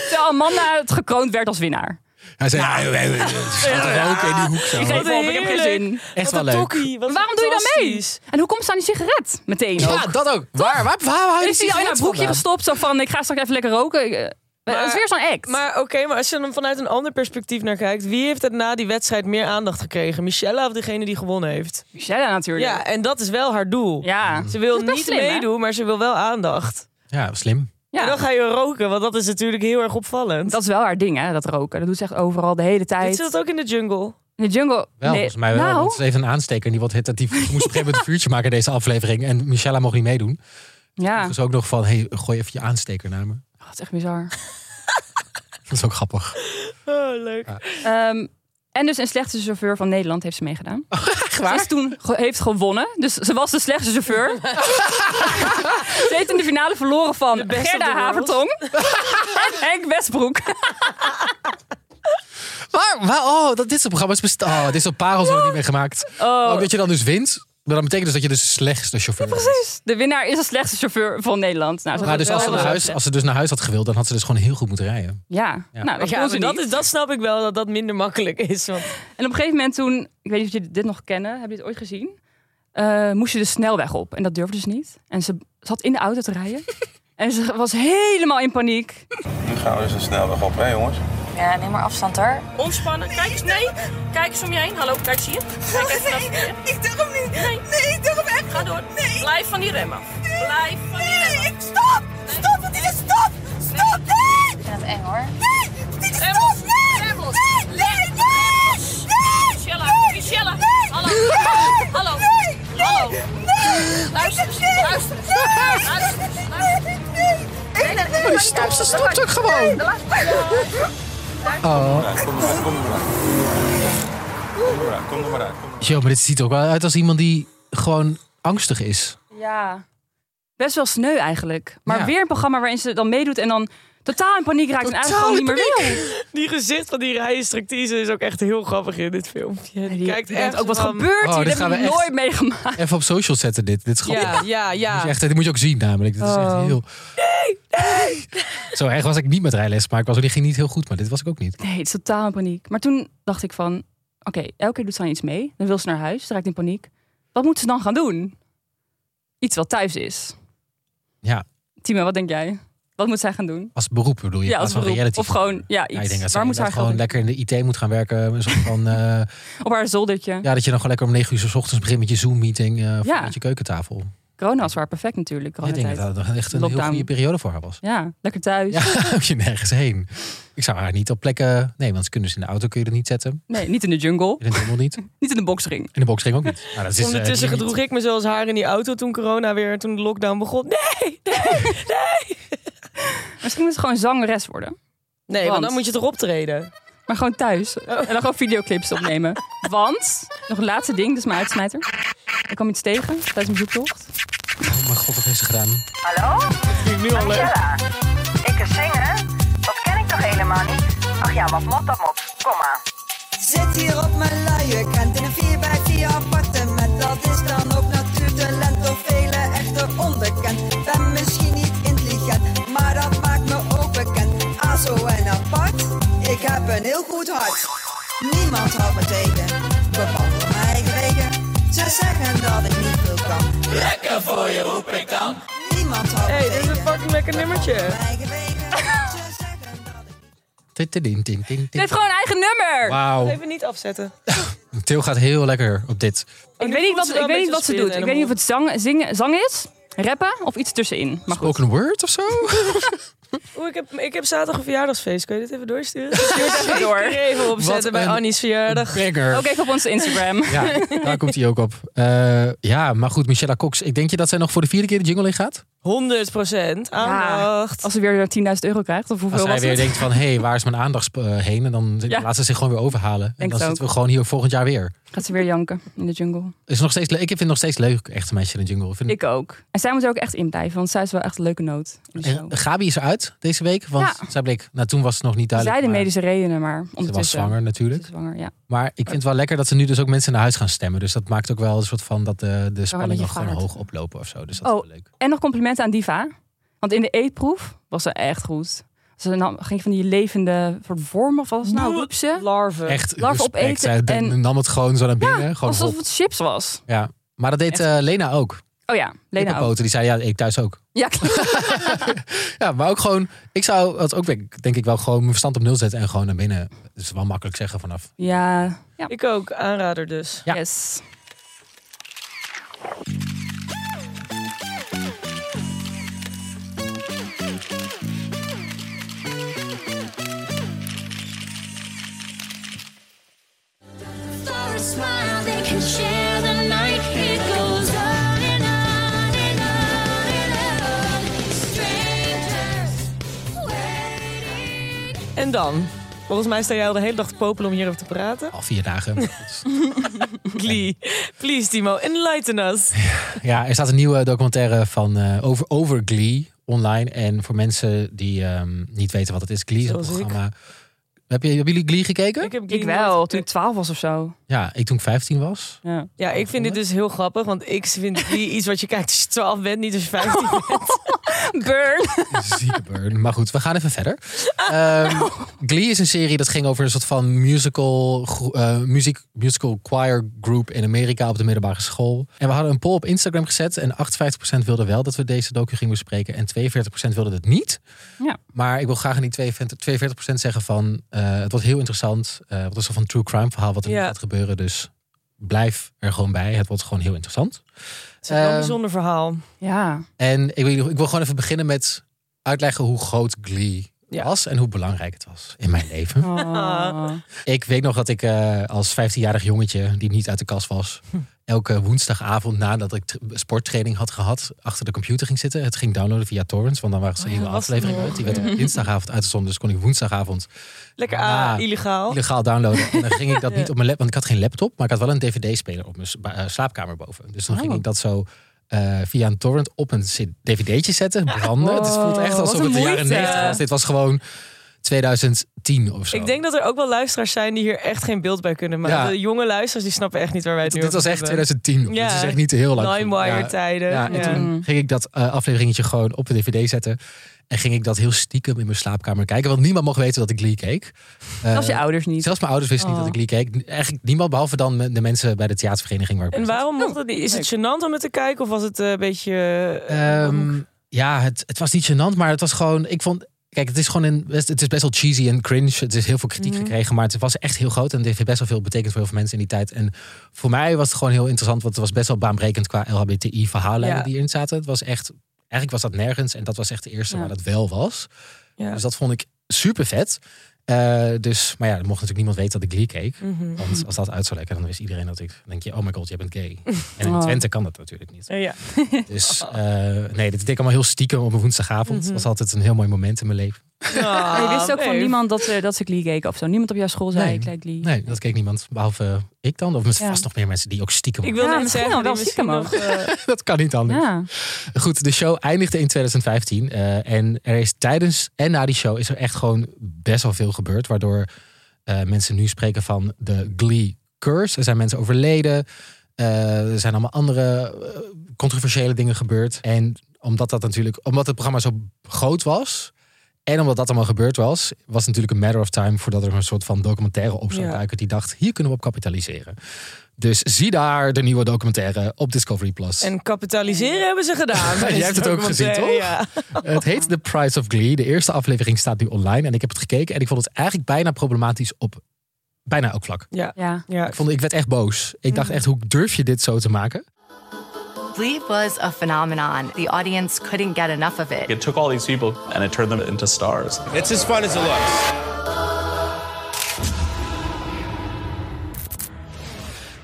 [SPEAKER 2] Terwijl Amanda het gekroond werd als winnaar.
[SPEAKER 3] Hij zei, ja. ze gaat er roken in die hoek zo.
[SPEAKER 2] Ik geef
[SPEAKER 4] Wat
[SPEAKER 2] op, ik heb geen zin.
[SPEAKER 3] Echt
[SPEAKER 4] Wat
[SPEAKER 3] wel
[SPEAKER 4] een
[SPEAKER 3] leuk.
[SPEAKER 4] tokkie, wat
[SPEAKER 2] Waarom doe je dan mee?
[SPEAKER 4] fantastisch. nou,
[SPEAKER 2] En hoe komt ze aan die sigaret? Meteen.
[SPEAKER 3] Ja, dat ook. Waar, waar, waar, waar
[SPEAKER 2] Is hij al in haar broekje
[SPEAKER 3] gestopt?
[SPEAKER 2] gestopt? Zo van, ik ga straks even lekker roken. Ik, eh,
[SPEAKER 4] Maar-
[SPEAKER 2] het is weer zo'n act.
[SPEAKER 4] Maar oké, maar als je er vanuit een ander perspectief naar kijkt, wie heeft er na die wedstrijd meer aandacht gekregen? Michelle of degene die gewonnen heeft?
[SPEAKER 2] Michelle natuurlijk.
[SPEAKER 4] Ja, en dat is wel haar doel.
[SPEAKER 2] Ja.
[SPEAKER 3] Mhm.
[SPEAKER 4] Ze wil
[SPEAKER 2] Dat is best
[SPEAKER 4] niet
[SPEAKER 2] slim, hè?
[SPEAKER 4] meedoen, maar ze wil wel aandacht.
[SPEAKER 3] Ja, slim.
[SPEAKER 2] Ja.
[SPEAKER 4] En dan ga je roken, want dat is natuurlijk heel erg opvallend.
[SPEAKER 2] Dat is wel haar ding, hè, dat roken. Dat doet ze echt overal de hele
[SPEAKER 4] Dit
[SPEAKER 2] tijd.
[SPEAKER 4] zit ook in de jungle.
[SPEAKER 2] In de jungle.
[SPEAKER 3] Wel,
[SPEAKER 2] Nee,
[SPEAKER 3] volgens mij wel.
[SPEAKER 2] Nou,
[SPEAKER 3] Want het is even een aansteker. en Die, wat, dat die moest op een gegeven moment een vuurtje maken in deze aflevering. En Michelle mocht niet meedoen.
[SPEAKER 2] ja.
[SPEAKER 3] Dus ook nog van, hey, gooi even je aansteker naar me.
[SPEAKER 2] Oh, dat is echt bizar.
[SPEAKER 3] Dat is ook grappig.
[SPEAKER 4] Oh, leuk.
[SPEAKER 2] Ehm, en dus een slechtste chauffeur van Nederland heeft ze
[SPEAKER 3] [laughs]
[SPEAKER 2] meegedaan. Ze is toen ge- heeft gewonnen. Dus ze was de slechtste
[SPEAKER 4] [laughs]
[SPEAKER 2] chauffeur. ze heeft in de finale verloren van
[SPEAKER 4] best of
[SPEAKER 2] Gerda
[SPEAKER 4] the world. [laughs]
[SPEAKER 2] Havertong. en Henk Westbroek.
[SPEAKER 3] Waar, waar, oh, dat dit soort programma's bestaan. Oh, dit soort parels worden niet meer gemaakt.
[SPEAKER 2] Oh.
[SPEAKER 3] Ook dat je dan dus wint. Maar dat betekent dus dat je de slechtste chauffeur bent.
[SPEAKER 2] De winnaar is de slechtste chauffeur van Nederland. Nou, ze
[SPEAKER 3] Maar
[SPEAKER 2] had
[SPEAKER 3] dus
[SPEAKER 2] het
[SPEAKER 3] als ze,
[SPEAKER 2] wel
[SPEAKER 3] naar
[SPEAKER 2] heel
[SPEAKER 3] huis, als ze dus naar huis had gewild, dan had ze dus gewoon heel goed moeten rijden.
[SPEAKER 2] leuk. Ja,
[SPEAKER 3] Ja.
[SPEAKER 2] nou, dat
[SPEAKER 4] Ja,
[SPEAKER 2] kon
[SPEAKER 4] maar
[SPEAKER 2] ze niet.
[SPEAKER 4] dat, is, dat snap ik wel, dat dat minder makkelijk is. Want
[SPEAKER 2] En op een gegeven moment toen, ik weet niet of jullie dit nog kennen, hebben jullie het ooit gezien? Eh, moest je de snelweg op en dat durfde ze dus niet. En ze zat in de auto te
[SPEAKER 3] [laughs]
[SPEAKER 2] rijden en ze was helemaal in paniek.
[SPEAKER 6] Nu gaan we dus een snelweg op, hè jongens?
[SPEAKER 8] Ja, neem maar afstand hoor.
[SPEAKER 7] Ontspannen. Kijk eens, nee. Kijk eens om je heen. Hallo, kijk, zie je? Kijk even [laughs] nee, ik durf niet. Nee. ik durf echt Ga door. Nee. Blijf van die rem af. Blijf van die rem Nee, ik stop. Stop, want dit is stop. Stop, nee.
[SPEAKER 8] Ik vind het eng hoor.
[SPEAKER 7] Nee, dit is stop. Nee, nee, nee, nee. Michelle, Michelle. Hallo. Hallo. Hallo. Nee. Luister, luister. Luister,
[SPEAKER 3] Maar stop, ze stopt ook gewoon. Oh.
[SPEAKER 6] Kom er maar uit, kom er maar uit. Kom er maar uit, kom er maar uit. kom er maar uit.
[SPEAKER 3] Yo, maar dit ziet er ook wel uit als iemand die gewoon angstig is.
[SPEAKER 2] Ja. Best wel sneu eigenlijk. Maar
[SPEAKER 3] Ja.
[SPEAKER 2] weer een programma waarin ze dan meedoet en dan totaal in paniek raakt en eigenlijk gewoon
[SPEAKER 3] Totaal
[SPEAKER 2] niet meer wil.
[SPEAKER 4] die gezicht van die rijinstructrice is ook echt heel grappig in dit filmpje. Die, kijkt
[SPEAKER 2] denkt
[SPEAKER 4] echt
[SPEAKER 2] ook wat
[SPEAKER 4] van-
[SPEAKER 2] gebeurt
[SPEAKER 3] Oh,
[SPEAKER 2] hier,
[SPEAKER 3] dit
[SPEAKER 2] dat
[SPEAKER 3] gaan
[SPEAKER 2] heb
[SPEAKER 3] we
[SPEAKER 2] ik
[SPEAKER 3] echt-
[SPEAKER 2] nooit meegemaakt.
[SPEAKER 3] Even op social zetten dit. Dit is grappig.
[SPEAKER 4] Ja, ja, ja.
[SPEAKER 3] Dat is echt, dit moet je ook zien namelijk. Dit is echt
[SPEAKER 2] Ah. Oh.
[SPEAKER 3] heel... Zo erg was ik niet met rijles, maar ik was, die ging niet heel goed. Maar dit was ik ook niet.
[SPEAKER 2] Nee, het is totaal in paniek. Maar toen dacht ik van, oké, elke keer doet ze dan iets mee. Dan wil ze naar huis, ze raakt in paniek. Wat moet ze dan gaan doen? Iets wat thuis is.
[SPEAKER 3] Ja.
[SPEAKER 2] Timo, wat denk jij? Wat moet zij gaan doen?
[SPEAKER 3] Als beroep bedoel je? in
[SPEAKER 2] Ja,
[SPEAKER 3] plaats
[SPEAKER 2] als
[SPEAKER 3] van
[SPEAKER 2] beroep.
[SPEAKER 3] reality.
[SPEAKER 2] Of gewoon, ja,
[SPEAKER 3] Ja,
[SPEAKER 2] iets.
[SPEAKER 3] ik denk dat ze
[SPEAKER 2] Waar
[SPEAKER 3] inderdaad
[SPEAKER 2] moet haar
[SPEAKER 3] gewoon
[SPEAKER 2] gewoon
[SPEAKER 3] lekker in de IT moet gaan werken. Een soort van, eh,
[SPEAKER 2] Op haar zoldertje.
[SPEAKER 3] ja, dat je dan gewoon lekker om negen uur 's ochtends begint met je Zoom-meeting eh
[SPEAKER 2] Ja.
[SPEAKER 3] met je keukentafel.
[SPEAKER 2] Corona was waar perfect natuurlijk.
[SPEAKER 3] ik denk dat
[SPEAKER 2] coronatijd.
[SPEAKER 3] dat echt een heel
[SPEAKER 2] Lockdown.
[SPEAKER 3] goede periode voor haar was. [laughs]
[SPEAKER 2] Ja, lekker thuis.
[SPEAKER 3] Ja, hoef je nergens heen. Ik zou haar niet op plekken... Nee, want ze kunnen ze in de auto kun je er niet zetten.
[SPEAKER 2] Nee, niet in de jungle.
[SPEAKER 3] In het helemaal niet.
[SPEAKER 2] Niet in de boxring.
[SPEAKER 3] In de boxring ook niet. Nou, dat is, eh,
[SPEAKER 4] Ondertussen
[SPEAKER 3] niet-
[SPEAKER 4] gedroeg ik me zoals haar in die auto toen corona weer, toen de lockdown begon. Nee, nee,
[SPEAKER 2] Misschien moet ze gewoon zangeres worden.
[SPEAKER 4] nee want,
[SPEAKER 2] Want-
[SPEAKER 4] dan moet je toch optreden.
[SPEAKER 2] Maar gewoon thuis. En dan gewoon videoclips opnemen. Want, nog een laatste ding, dat is mijn uitsmijter. Ik kwam iets tegen tijdens mijn zoektocht.
[SPEAKER 3] Oh mijn god, wat heeft ze gedaan?
[SPEAKER 8] Hallo?
[SPEAKER 4] Vind ik nu al leuk.
[SPEAKER 8] Angela. Ik kan zingen? Dat ken ik toch helemaal niet? Ach ja, wat mot dat mot. Kom maar.
[SPEAKER 7] Zit hier op mijn luie kant in een 4x4 appartement. Dat is dan ook natuurtalent of vele echte onbekend. Ben misschien niet intelligent, maar dat maakt me ook bekend. Azo en apart, ik heb een heel goed hart. Niemand houdt me tegen, bepaald door mijn eigen wegen. Ze zeggen dat ik niet veel kan. Lekker voor je roep ik dan. Niemand houdt me
[SPEAKER 4] hey, dit
[SPEAKER 7] tegen.
[SPEAKER 4] is een fucking lekker
[SPEAKER 7] Door
[SPEAKER 4] nummertje.
[SPEAKER 7] mijn eigen wegen. Ze zeggen dat
[SPEAKER 3] Tin, tin, tin,
[SPEAKER 7] ik
[SPEAKER 3] tin,
[SPEAKER 2] Ze
[SPEAKER 3] tin.
[SPEAKER 2] heeft gewoon een eigen nummer.
[SPEAKER 3] Wauw.
[SPEAKER 4] Even niet afzetten.
[SPEAKER 3] Til gaat heel lekker op dit.
[SPEAKER 2] Ik weet niet wat
[SPEAKER 4] ze
[SPEAKER 2] ze,
[SPEAKER 4] wel
[SPEAKER 2] ik weet
[SPEAKER 4] een
[SPEAKER 2] niet wat ze
[SPEAKER 4] beetje
[SPEAKER 2] doet. Ik weet niet of het zang, zingen, zang is, rappen of iets tussenin. Maar goed.
[SPEAKER 3] Spoken word of zo?
[SPEAKER 4] Oeh, ik heb, ik heb zaterdag een verjaardagsfeest. Kun je dit even [laughs] doorsturen? Stuur het even
[SPEAKER 2] door.
[SPEAKER 4] Even opzetten bij
[SPEAKER 3] een-
[SPEAKER 4] Annie's verjaardag.
[SPEAKER 3] Brenger.
[SPEAKER 2] Ook even op onze
[SPEAKER 4] [laughs]
[SPEAKER 2] Instagram.
[SPEAKER 3] Ja, daar komt hij ook op. Eh, ja, maar goed, Michelle Cox. Ik denk je dat zij nog voor de vierde keer de jingle in gaat?
[SPEAKER 4] 100 aandacht.
[SPEAKER 2] Als ze weer 10.000 euro krijgt, of
[SPEAKER 3] Als
[SPEAKER 2] hoeveel
[SPEAKER 3] zij
[SPEAKER 2] was
[SPEAKER 3] weer
[SPEAKER 2] het?
[SPEAKER 3] denkt van, hé, hey, waar is mijn aandacht eh, heen? En dan
[SPEAKER 2] Ja.
[SPEAKER 3] laat ze zich gewoon weer overhalen. En
[SPEAKER 2] Denk
[SPEAKER 3] dan
[SPEAKER 2] het
[SPEAKER 3] zitten we gewoon hier volgend jaar weer.
[SPEAKER 2] Gaat ze weer janken in de jungle.
[SPEAKER 3] Is nog steeds, le- ik vind het nog steeds leuk, echt een meisje in de jungle. Ik Vind
[SPEAKER 2] Ik ook. En zij moet er ook echt in blijven, want zij is wel echt een leuke noot. in de
[SPEAKER 3] En
[SPEAKER 2] show.
[SPEAKER 3] Gabi is eruit deze week, want zij bleek, nou toen was het nog niet duidelijk.
[SPEAKER 2] Zij de
[SPEAKER 3] maar
[SPEAKER 2] medische redenen, maar
[SPEAKER 3] Ze
[SPEAKER 2] ondertussen.
[SPEAKER 3] was zwanger
[SPEAKER 2] Ze
[SPEAKER 3] natuurlijk.
[SPEAKER 2] is zwanger, ja.
[SPEAKER 3] Maar ik vind het wel lekker dat ze nu dus ook mensen naar huis gaan stemmen. Dus dat maakt ook wel een soort van dat de, de spanning
[SPEAKER 2] je
[SPEAKER 3] nog gewoon
[SPEAKER 2] vaart.
[SPEAKER 3] hoog oplopen of zo. Dus dat
[SPEAKER 2] Oh.
[SPEAKER 3] is wel leuk.
[SPEAKER 2] En nog complimenten aan Diva. Want in de eetproef was ze echt goed. Ze nam, ging van die levende soort wormen, of wat was het nou, rupsen?
[SPEAKER 4] Larven.
[SPEAKER 3] Echt
[SPEAKER 2] Larven
[SPEAKER 3] respect.
[SPEAKER 2] opeten
[SPEAKER 3] Zij de-
[SPEAKER 2] en-
[SPEAKER 3] nam het gewoon zo naar binnen. gewoon
[SPEAKER 2] Alsof
[SPEAKER 3] hop.
[SPEAKER 2] het chips was.
[SPEAKER 3] Ja. Maar dat deed eh, Lena ook.
[SPEAKER 2] Oh ja, Lena ook.
[SPEAKER 3] Kippenpoten, die zei ja, ik thuis ook.
[SPEAKER 2] Ja,
[SPEAKER 3] [laughs] Ja, maar ook gewoon, ik zou het ook denk denk ik wel gewoon mijn verstand op nul zetten en gewoon naar binnen. Dat is wel makkelijk zeggen vanaf.
[SPEAKER 2] ja. ja.
[SPEAKER 4] Ik ook, aanrader dus.
[SPEAKER 3] Ja.
[SPEAKER 2] Yes.
[SPEAKER 9] For a smile, they can share the night. It goes on and on and on and on. Strangers waiting.
[SPEAKER 4] En dan? Volgens mij sta jij al de hele dag te popelen om hierover te praten.
[SPEAKER 3] Al vier dagen.
[SPEAKER 2] [laughs]
[SPEAKER 4] Please, please Timo, enlighten [laughs] us.
[SPEAKER 3] Ja, er staat een nieuwe documentaire van, eh, over, over Glee online. En voor mensen die ehm, niet weten wat het is, Glee is een
[SPEAKER 4] Zoals ik.
[SPEAKER 3] programma. Heb je, hebben jullie Glee gekeken?
[SPEAKER 4] heb die
[SPEAKER 2] Ik wel,
[SPEAKER 4] nooit-
[SPEAKER 2] toen ik 12 was of zo.
[SPEAKER 3] Ja, ik toen ik 15 was.
[SPEAKER 2] Ja.
[SPEAKER 4] Ja, ik vind dit dus heel grappig, want ik vind die iets wat je kijkt als je 12 bent, niet als je 15 bent.
[SPEAKER 2] [laughs] Burn.
[SPEAKER 3] Zieke burn. Maar goed, we gaan even verder.
[SPEAKER 4] [laughs]
[SPEAKER 3] Ehm,
[SPEAKER 4] Oh.
[SPEAKER 3] Glee is een serie dat ging over een soort van musical, gro- eh, music, musical choir group in Amerika op de middelbare school. En we hadden een poll op Instagram gezet en 58% wilde wel dat we deze docu gingen bespreken en 42% wilde het niet.
[SPEAKER 2] Ja.
[SPEAKER 3] Maar ik wil graag aan die 42 42% zeggen van eh, het wordt heel interessant. Eh het is een soort van true crime verhaal wat er nu
[SPEAKER 4] Ja.
[SPEAKER 3] gaat gebeuren. Dus blijf er gewoon bij. Het wordt gewoon heel interessant.
[SPEAKER 4] Het is wel een
[SPEAKER 3] Ehm,
[SPEAKER 4] bijzonder verhaal.
[SPEAKER 2] Ja.
[SPEAKER 3] En ik wil, ik wil gewoon even beginnen met uitleggen hoe groot Glee
[SPEAKER 4] Ja.
[SPEAKER 3] was en hoe belangrijk het was in mijn leven.
[SPEAKER 2] Oh.
[SPEAKER 3] [laughs] Ik weet nog dat ik eh, als 15-jarig jongetje, die niet uit de kast was, elke woensdagavond nadat ik tr- sporttraining had gehad, achter de computer ging zitten. Het ging downloaden via torrents, want dan waren ze een hele
[SPEAKER 4] was het
[SPEAKER 3] aflevering uit. Die werd op dinsdagavond uitgezonden, dus kon ik woensdagavond
[SPEAKER 4] Lekker
[SPEAKER 3] ja,
[SPEAKER 4] ah, illegaal.
[SPEAKER 3] illegaal downloaden. En dan ging
[SPEAKER 4] [laughs]
[SPEAKER 3] ik dat niet op mijn laptop, want ik had geen laptop, maar ik had wel een dvd-speler op mijn s- ba- eh, slaapkamer boven. Dus dan
[SPEAKER 4] Oh.
[SPEAKER 3] ging ik dat zo eh, via een torrent op een c- dvd'tje zetten, branden. het
[SPEAKER 4] Oh,
[SPEAKER 3] voelt echt
[SPEAKER 2] wat
[SPEAKER 3] alsof
[SPEAKER 2] een
[SPEAKER 3] het de jaren
[SPEAKER 2] moeite.
[SPEAKER 3] 90 was. Dit was gewoon 2010 of zo.
[SPEAKER 4] Ik denk dat er ook wel luisteraars zijn die hier echt geen beeld bij kunnen maken.
[SPEAKER 3] Ja.
[SPEAKER 4] De jonge luisteraars die snappen echt niet waar wij het nu
[SPEAKER 3] dit was echt 2010.
[SPEAKER 4] Ja.
[SPEAKER 3] Dat is echt niet heel lang.
[SPEAKER 4] Nine-wire
[SPEAKER 3] Ja.
[SPEAKER 4] tijden. Mm.
[SPEAKER 3] Ja, en toen ging ik dat eh, afleveringetje gewoon op de dvd zetten. En ging ik dat heel stiekem in mijn slaapkamer kijken. Want niemand mocht weten dat ik Glee keek. Eh,
[SPEAKER 2] Zelfs je ouders niet.
[SPEAKER 3] zelfs mijn ouders wisten niet
[SPEAKER 4] Oh.
[SPEAKER 3] dat ik Glee keek. Eigenlijk niemand, behalve dan de mensen bij de theatervereniging waar ik bij
[SPEAKER 4] En
[SPEAKER 3] zat.
[SPEAKER 2] Oh,
[SPEAKER 4] waarom mocht dat niet? Is het gênant om het te kijken of was het eh, een beetje... eh,
[SPEAKER 3] Ehm, ja, het, het was niet gênant, maar het was gewoon. Ik vond. Kijk, het is gewoon in. best- Het is best wel cheesy en cringe. Het is heel veel kritiek
[SPEAKER 4] Mhm.
[SPEAKER 3] gekregen, maar het was echt heel groot. En het heeft best wel veel betekend voor heel veel mensen in die tijd. En voor mij was het gewoon heel interessant, want het was best wel baanbrekend qua LHBTI-verhalen
[SPEAKER 4] Ja.
[SPEAKER 3] die erin zaten. Het was echt. Eigenlijk was dat nergens. En dat was echt de eerste
[SPEAKER 2] Ja.
[SPEAKER 3] waar dat wel was.
[SPEAKER 4] Ja.
[SPEAKER 3] Dus dat vond ik super vet. Eh, dus, maar ja, dat mocht natuurlijk niemand weten dat ik Glee keek.
[SPEAKER 2] Mhm.
[SPEAKER 3] Want als dat uit zou lekken, dan wist iedereen dat ik... denk je, oh my god, jij bent gay. En in
[SPEAKER 2] Oh.
[SPEAKER 3] Twente kan dat natuurlijk niet.
[SPEAKER 4] Eh, ja.
[SPEAKER 2] [laughs]
[SPEAKER 3] Dus eh, nee, dit deed ik allemaal heel stiekem op een
[SPEAKER 2] Mhm.
[SPEAKER 3] woensdagavond. Dat was altijd een heel mooi moment in mijn leven.
[SPEAKER 2] En
[SPEAKER 3] Ah,
[SPEAKER 2] je wist ook van
[SPEAKER 4] Ah, nee.
[SPEAKER 2] niemand dat ze, dat ze Glee keken of zo. Niemand op jouw school zei,
[SPEAKER 3] Nee.
[SPEAKER 2] ik kijk Glee.
[SPEAKER 3] Nee, dat keek niemand, behalve eh, ik dan. Of misschien
[SPEAKER 2] Ja.
[SPEAKER 3] vast nog meer mensen die ook stiekem...
[SPEAKER 4] Ik wilde
[SPEAKER 2] Ja,
[SPEAKER 4] net
[SPEAKER 2] misschien
[SPEAKER 4] zeggen,
[SPEAKER 2] wel
[SPEAKER 4] die
[SPEAKER 2] stiekem
[SPEAKER 4] misschien nog,
[SPEAKER 3] [laughs]
[SPEAKER 4] eh,
[SPEAKER 3] dat kan niet anders.
[SPEAKER 2] Ja.
[SPEAKER 3] Goed, de show eindigde in 2015. eh, en er is tijdens en na die show is er echt gewoon best wel veel gebeurd. Waardoor eh, mensen nu spreken van de Glee curse. Er zijn mensen overleden. eh, er zijn allemaal andere eh, controversiële dingen gebeurd. En omdat dat natuurlijk, omdat het programma zo groot was. En omdat dat allemaal gebeurd was, was het natuurlijk een matter of time voordat er een soort van documentaire op zou
[SPEAKER 4] Ja.
[SPEAKER 3] duiken. Die dacht, hier kunnen we op kapitaliseren. Dus zie daar de nieuwe documentaire op Discovery Plus.
[SPEAKER 4] eh, En kapitaliseren hebben ze
[SPEAKER 3] [laughs]
[SPEAKER 4] gedaan. eh,
[SPEAKER 3] Jij hebt
[SPEAKER 4] [laughs]
[SPEAKER 3] het ook gezien, toch?
[SPEAKER 4] Ja.
[SPEAKER 3] Het heet The Price of Glee. De eerste aflevering staat nu online en ik heb het gekeken en ik vond het eigenlijk bijna problematisch op bijna elk vlak.
[SPEAKER 2] ja.
[SPEAKER 4] ja.
[SPEAKER 3] Ik, vond, ik werd echt boos. Ik dacht echt, hoe durf je dit zo te maken?
[SPEAKER 8] Glee was a phenomenon. The audience couldn't get enough of it.
[SPEAKER 10] It took all these people and it turned them into stars.
[SPEAKER 11] It's as fun as it looks.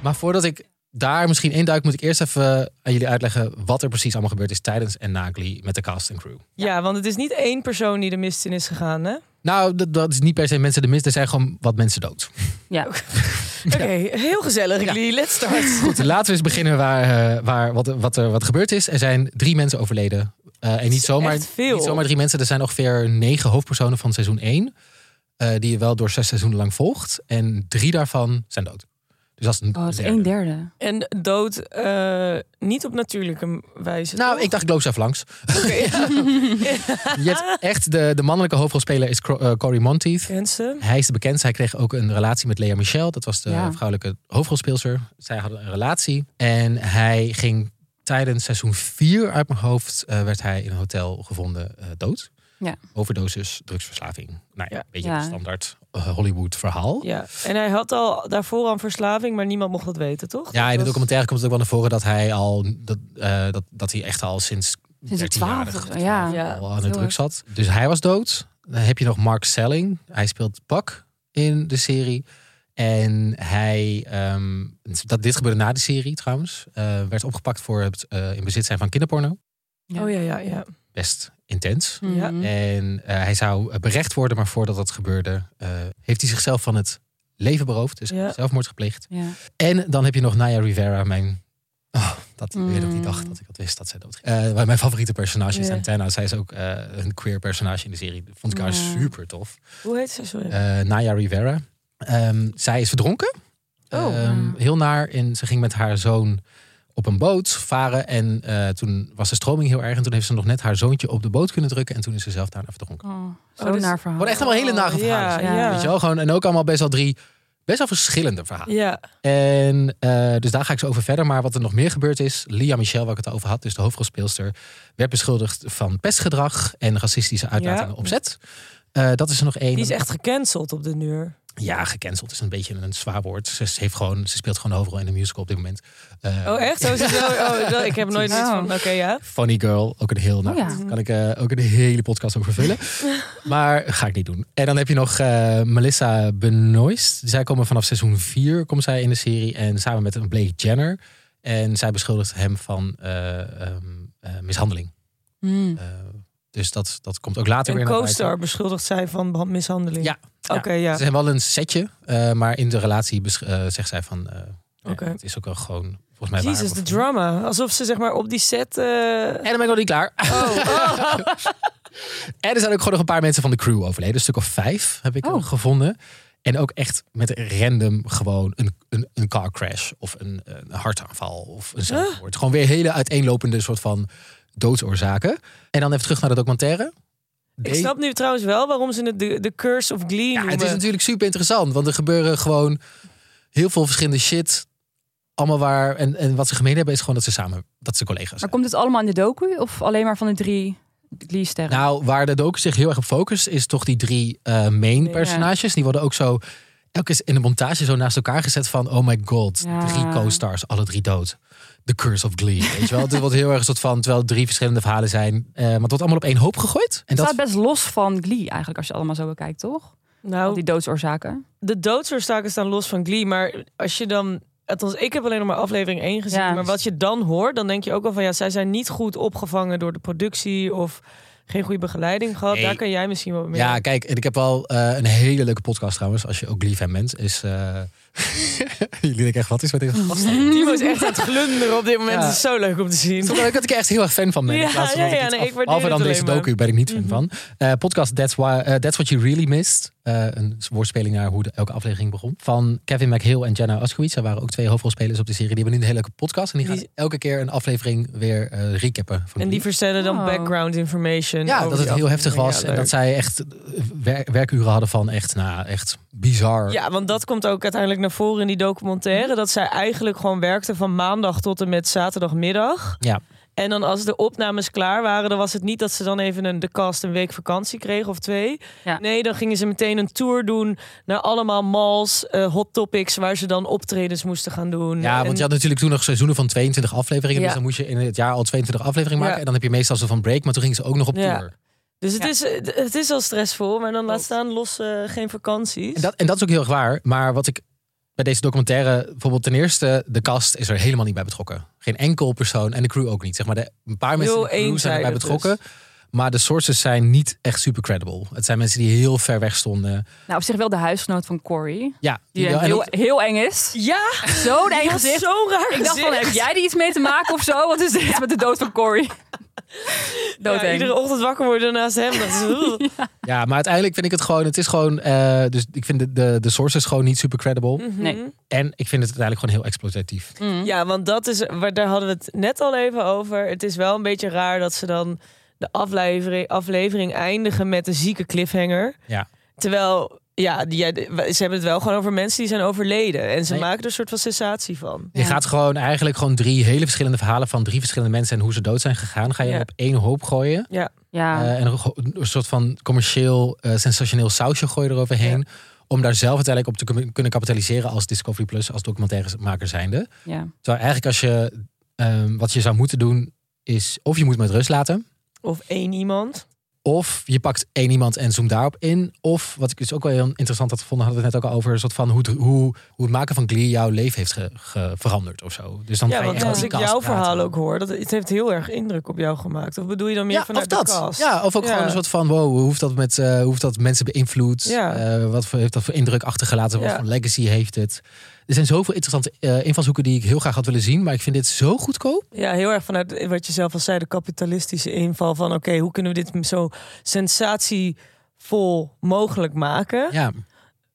[SPEAKER 3] Maar voordat ik daar misschien induik, moet ik eerst even aan jullie uitleggen wat er precies allemaal gebeurd is tijdens en na Glee met de cast en crew.
[SPEAKER 4] Ja, want het is niet één persoon die de mist in is gegaan, hè?
[SPEAKER 3] Nou, dat, dat is niet per se mensen de mist. Er zijn gewoon wat mensen dood.
[SPEAKER 2] ja.
[SPEAKER 4] Oké, heel gezellig, Glee.
[SPEAKER 3] [laughs]
[SPEAKER 4] Let's start.
[SPEAKER 3] Goed, laten we eens beginnen waar, eh, waar, wat, wat, er, wat gebeurd is. Er zijn drie mensen overleden. Eh, en niet zomaar,
[SPEAKER 4] echt veel.
[SPEAKER 3] niet zomaar drie mensen. Er zijn ongeveer negen hoofdpersonen van seizoen 1. die je wel door zes seizoenen lang volgt. En drie daarvan zijn dood. Dus dat is een
[SPEAKER 2] Oh, dat is
[SPEAKER 3] derde.
[SPEAKER 2] een derde.
[SPEAKER 4] En dood eh, niet op natuurlijke wijze.
[SPEAKER 3] Nou,
[SPEAKER 4] toch?
[SPEAKER 3] ik dacht, ik loop ze even langs. [laughs] je hebt echt, de, de mannelijke hoofdrolspeler is Cro- eh, Cory Monteith.
[SPEAKER 4] Kent ze?
[SPEAKER 3] Hij is de bekendste. Hij kreeg ook een relatie met Lea Michel. Dat was de
[SPEAKER 2] Ja.
[SPEAKER 3] vrouwelijke hoofdrolspeelster. Zij hadden een relatie. En hij ging tijdens seizoen 4 uit mijn hoofd... eh, werd hij in een hotel gevonden eh, dood.
[SPEAKER 2] Ja.
[SPEAKER 3] Overdosis, drugsverslaving. Nou ja,
[SPEAKER 4] Ja.
[SPEAKER 3] een beetje
[SPEAKER 2] Ja.
[SPEAKER 3] een standaard eh, Hollywood verhaal. Ja.
[SPEAKER 4] Ja. En hij had al daarvoor aan verslaving, maar niemand mocht dat weten, toch? Dat
[SPEAKER 3] in de
[SPEAKER 4] was-
[SPEAKER 3] documentaire komt het ook wel naar voren dat hij al dat, eh, dat, dat hij echt al sinds
[SPEAKER 2] Sinds de
[SPEAKER 3] 13-jarig,
[SPEAKER 2] twaalfde, ja.
[SPEAKER 3] 12
[SPEAKER 4] Ja,
[SPEAKER 3] al aan de
[SPEAKER 2] heel
[SPEAKER 3] drugs zat. Dus hij was dood. Dan heb je nog Mark Selling. Hij speelt Buck in de serie. En hij, ehm, dat, dit gebeurde na de serie trouwens, eh, werd opgepakt voor het eh, in bezit zijn van kinderporno.
[SPEAKER 4] Oh ja, ja, ja.
[SPEAKER 3] Best intens.
[SPEAKER 4] Ja.
[SPEAKER 2] Mhm.
[SPEAKER 3] En eh, hij zou berecht worden, maar voordat dat gebeurde, eh, heeft hij zichzelf van het leven beroofd. Dus
[SPEAKER 4] Ja.
[SPEAKER 3] zelfmoord gepleegd.
[SPEAKER 2] Ja.
[SPEAKER 3] En dan heb je nog Naya Rivera, mijn. Oh, dat
[SPEAKER 2] Mm.
[SPEAKER 3] weer dat die dag dat ik dat wist dat zij dood ging. Eh, mijn favoriete personage is
[SPEAKER 4] Ja.
[SPEAKER 3] Antenna. Zij is ook eh, een queer personage in de serie. Dat vond ik haar
[SPEAKER 2] Ja.
[SPEAKER 3] super tof.
[SPEAKER 4] Hoe heet ze? Sorry.
[SPEAKER 3] Eh, Naya Rivera. Ehm, zij is verdronken.
[SPEAKER 4] Oh.
[SPEAKER 3] Ehm,
[SPEAKER 2] Ja.
[SPEAKER 3] Heel naar. En ze ging met haar zoon op een boot varen. En eh, toen was de stroming heel erg. En toen heeft ze nog net haar zoontje op de boot kunnen drukken. En toen is ze zelf daarna verdronken.
[SPEAKER 2] Oh, zo
[SPEAKER 4] Oh, dus-
[SPEAKER 2] naar verhaal.
[SPEAKER 3] Gewoon echt allemaal hele nare
[SPEAKER 4] Oh,
[SPEAKER 3] verhalen.
[SPEAKER 4] Ja, ja.
[SPEAKER 3] Weet je wel? Gewoon, en ook allemaal best wel drie best wel verschillende verhalen.
[SPEAKER 4] Ja,
[SPEAKER 3] En eh, dus daar ga ik zo over verder. Maar wat er nog meer gebeurd is, Lia Michel, waar ik het over had, dus de hoofdrolspeelster, werd beschuldigd van pestgedrag en racistische uitlatingen
[SPEAKER 4] Ja.
[SPEAKER 3] opzet. Eh, dat is er nog één.
[SPEAKER 4] die is echt gecanceld op de nuur.
[SPEAKER 3] Ja, gecanceld is een beetje een zwaar woord. Ze, ze heeft gewoon, ze speelt gewoon de hoofdrol in de musical op dit moment. Eh,
[SPEAKER 4] Oh, echt? Oh, ze is wel- oh, dat- ik heb nooit
[SPEAKER 2] Oh.
[SPEAKER 4] iets van. Oké, ja.
[SPEAKER 3] Funny Girl, ook een heel nou,
[SPEAKER 2] Oh ja.
[SPEAKER 3] goed, kan ik eh, ook een hele podcast over
[SPEAKER 4] [laughs]
[SPEAKER 3] vullen. maar ga ik niet doen. En dan heb je nog eh, Melissa Benoist. Zij komen vanaf seizoen 4 komt zij in de serie en samen met een Blake Jenner. En zij beschuldigt hem van eh, ehm, eh, mishandeling.
[SPEAKER 2] Hmm.
[SPEAKER 3] Eh, dus dat, dat komt ook later
[SPEAKER 4] Een
[SPEAKER 3] weer naar
[SPEAKER 4] co-star
[SPEAKER 3] buiten.
[SPEAKER 4] beschuldigt zij van beha- mishandeling.
[SPEAKER 3] Ja.
[SPEAKER 4] Oké, ja.
[SPEAKER 3] Ze zijn wel een setje, eh, maar in de relatie besch- eh, zegt zij van... eh, ja,
[SPEAKER 4] Oké.
[SPEAKER 3] Het is ook wel gewoon volgens mij waar.
[SPEAKER 4] Jezus, de drama. Alsof ze zeg maar op die set... eh,
[SPEAKER 3] En dan ben ik nog niet klaar. [laughs] en er zijn ook gewoon nog een paar mensen van de crew overleden. Een stuk of vijf heb ik
[SPEAKER 2] Oh.
[SPEAKER 3] gevonden. En ook echt met random gewoon een, een, een car crash of een, een hartaanval of een zelfmoord. Gewoon weer hele uiteenlopende soort van doodsoorzaken. En dan even terug naar de documentaire.
[SPEAKER 4] Ik
[SPEAKER 3] Deze-
[SPEAKER 4] snap nu trouwens wel waarom ze het de, de Curse of Glee
[SPEAKER 3] ja,
[SPEAKER 4] noemen.
[SPEAKER 3] het is natuurlijk super interessant, want er gebeuren gewoon heel veel verschillende shit allemaal waar. En, en wat ze gemeen hebben is gewoon dat ze samen. dat ze collega's
[SPEAKER 2] Maar
[SPEAKER 3] zijn.
[SPEAKER 2] komt dit allemaal in de docu of alleen maar van de drie, drie sterren?
[SPEAKER 3] Nou, waar de docu zich heel erg op focust, is toch die drie eh, main personages. Die worden ook zo. Elke keer in de montage zo naast elkaar gezet van oh my god,
[SPEAKER 2] Ja.
[SPEAKER 3] drie co-stars, alle drie dood. The Curse of Glee, weet je wel? Het wordt heel erg een soort van, terwijl het drie verschillende verhalen zijn, eh, maar het wordt allemaal op één hoop gegooid. En
[SPEAKER 2] het
[SPEAKER 3] dat
[SPEAKER 2] staat best los van Glee eigenlijk, als je het allemaal zo bekijkt, toch? Al
[SPEAKER 4] Nou,
[SPEAKER 2] die doodsoorzaken.
[SPEAKER 4] de doodsoorzaken staan los van Glee. Maar als je dan... Althans, ik heb alleen nog maar aflevering 1 gezien.
[SPEAKER 2] Ja.
[SPEAKER 4] Maar wat je dan hoort, dan denk je ook wel van... Ja, zij zijn niet goed opgevangen door de productie. Of geen goede begeleiding gehad.
[SPEAKER 3] Nee.
[SPEAKER 4] Daar kan jij misschien wat mee.
[SPEAKER 3] Ja, kijk, en ik heb wel eh, een hele leuke podcast trouwens, als je ook lief en bent, is... eh, [laughs] Jullie denken echt, wat is met deze gast?
[SPEAKER 4] Timo is echt aan het glunderen op dit moment.
[SPEAKER 3] Ja.
[SPEAKER 4] Het is zo leuk om te zien.
[SPEAKER 3] Terwijl ik dat ik echt heel erg fan van ben.
[SPEAKER 4] Ja,
[SPEAKER 3] in plaats van
[SPEAKER 4] ja,
[SPEAKER 3] dat
[SPEAKER 4] ja,
[SPEAKER 3] iets
[SPEAKER 4] nee,
[SPEAKER 3] af-
[SPEAKER 4] ik waardeer
[SPEAKER 3] Behalve dan
[SPEAKER 4] het
[SPEAKER 3] deze
[SPEAKER 4] alleen Mhm.
[SPEAKER 3] docu ben ik niet fan van. Eh, podcast That's, Why, eh, That's What You Really Missed. Eh, een woordspeling naar hoe de- elke aflevering begon. Van Kevin McHill en Jenna Oskowitz. Zij waren ook twee hoofdrolspelers op de serie. Die hebben nu een hele leuke podcast. En die,
[SPEAKER 4] Die-
[SPEAKER 3] gaan elke keer een aflevering weer eh, recappen. Van
[SPEAKER 4] En die verstellen dan
[SPEAKER 2] Oh.
[SPEAKER 4] background information.
[SPEAKER 3] ja,
[SPEAKER 4] over
[SPEAKER 3] dat het
[SPEAKER 4] die
[SPEAKER 3] heel heftig
[SPEAKER 4] aflevering.
[SPEAKER 3] was. en
[SPEAKER 4] Ja,
[SPEAKER 3] dat
[SPEAKER 4] leuk.
[SPEAKER 3] zij echt eh, wer- werkuren hadden van echt, nou, echt bizar.
[SPEAKER 4] Ja, want dat komt ook uiteindelijk naar voren in die documentaire. Dat zij eigenlijk gewoon werkte van maandag tot en met zaterdagmiddag.
[SPEAKER 3] Ja.
[SPEAKER 4] En dan als de opnames klaar waren, dan was het niet dat ze dan even een, de cast een week vakantie kregen of twee.
[SPEAKER 2] Ja.
[SPEAKER 4] Nee, dan gingen ze meteen een tour doen naar allemaal malls, eh, hot topics, waar ze dan optredens moesten gaan doen.
[SPEAKER 3] Ja,
[SPEAKER 4] En-
[SPEAKER 3] want je had natuurlijk toen nog seizoenen van 22 afleveringen.
[SPEAKER 2] Ja.
[SPEAKER 3] Dus dan moest je in het jaar al 22 afleveringen maken.
[SPEAKER 4] Ja.
[SPEAKER 3] En dan heb je meestal zo van break. Maar toen gingen ze ook nog op
[SPEAKER 4] Ja.
[SPEAKER 3] tour.
[SPEAKER 4] Dus het,
[SPEAKER 2] Ja.
[SPEAKER 4] is, eh, het is al stressvol, maar dan laat staan los eh, geen vakanties.
[SPEAKER 3] En dat, en dat is ook heel erg waar. Maar wat ik bij deze documentaire, bijvoorbeeld ten eerste, de cast is er helemaal niet bij betrokken. Geen enkel persoon en de crew ook niet. Zeg maar de, een paar mensen
[SPEAKER 4] Heel
[SPEAKER 3] in de crew zijn erbij
[SPEAKER 4] eenzijdig dus.
[SPEAKER 3] betrokken. Maar de sources zijn niet echt super credible. Het zijn mensen die heel ver weg stonden.
[SPEAKER 2] Nou, op zich wel de huisgenoot van Corey.
[SPEAKER 3] Ja,
[SPEAKER 2] Die
[SPEAKER 3] en
[SPEAKER 2] heel,
[SPEAKER 3] ook-
[SPEAKER 2] heel eng is.
[SPEAKER 4] Ja,
[SPEAKER 2] Zo'n eng
[SPEAKER 4] die had
[SPEAKER 2] gezicht.
[SPEAKER 4] zo'n raar
[SPEAKER 2] Ik dacht van,
[SPEAKER 4] gezicht.
[SPEAKER 2] heb jij er iets mee te maken of zo? Wat is dit met de dood van
[SPEAKER 4] [laughs]
[SPEAKER 2] Corey? Dood
[SPEAKER 4] Ja, iedere ochtend wakker worden naast hem. Dat is,
[SPEAKER 2] [laughs]
[SPEAKER 3] ja, maar uiteindelijk vind ik het gewoon. Het is gewoon. eh, dus ik vind de, de, de sources gewoon niet super credible.
[SPEAKER 4] Mm. Mhm.
[SPEAKER 2] Nee.
[SPEAKER 3] En ik vind het uiteindelijk gewoon heel exploitatief.
[SPEAKER 4] Ja, want dat is, waar- daar hadden we het net al even over. Het is wel een beetje raar dat ze dan de aflevering, aflevering eindigen met een zieke cliffhanger.
[SPEAKER 3] Ja.
[SPEAKER 4] Terwijl, ja, die, ja, de- ze hebben het wel gewoon over mensen die zijn overleden. En ze
[SPEAKER 3] Nee.
[SPEAKER 4] maken er een soort van sensatie van.
[SPEAKER 3] Je gaat gewoon eigenlijk gewoon drie hele verschillende verhalen van drie verschillende mensen en hoe ze dood zijn gegaan. Ga je
[SPEAKER 4] Ja.
[SPEAKER 3] op één hoop gooien.
[SPEAKER 2] Ja.
[SPEAKER 3] Eh, en een, go- een soort van commercieel, eh, sensationeel sausje gooi je eroverheen. Om daar zelf uiteindelijk op te kun- kunnen kapitaliseren als Discovery Plus, als documentairemaker zijnde.
[SPEAKER 2] ja.
[SPEAKER 3] Terwijl eigenlijk als je, ehm, wat je zou moeten doen, is of je moet met rust laten.
[SPEAKER 4] Of één iemand.
[SPEAKER 3] Of je pakt één iemand en zoomt daarop in. Of, wat ik dus ook wel heel interessant had gevonden, hadden we het net ook al over, een soort van hoe, het- hoe, hoe het maken van Glee jouw leven heeft ge- ge- veranderd of zo. Dus dan ga
[SPEAKER 4] Ja,
[SPEAKER 3] je
[SPEAKER 4] want
[SPEAKER 3] echt
[SPEAKER 4] als
[SPEAKER 3] met
[SPEAKER 4] ik
[SPEAKER 3] die cast
[SPEAKER 4] jouw
[SPEAKER 3] praten.
[SPEAKER 4] verhaal ook hoor, dat, het heeft heel erg indruk op jou gemaakt. Of bedoel je dan meer
[SPEAKER 3] ja, of
[SPEAKER 4] vanuit
[SPEAKER 3] dat.
[SPEAKER 4] de kast?
[SPEAKER 3] Ja, of ook
[SPEAKER 4] Ja.
[SPEAKER 3] gewoon een soort van, wow, hoe heeft dat, met, eh, hoe heeft dat mensen beïnvloed?
[SPEAKER 4] Ja.
[SPEAKER 3] Eh, wat voor, heeft dat voor indruk achtergelaten? Wat
[SPEAKER 4] Ja.
[SPEAKER 3] voor legacy heeft het? Er zijn zoveel interessante eh, invalshoeken die ik heel graag had willen zien. Maar ik vind dit zo goedkoop.
[SPEAKER 4] Ja, heel erg vanuit wat je zelf al zei, de kapitalistische inval van oké, hoe kunnen we dit zo sensatievol mogelijk maken?
[SPEAKER 3] Ja.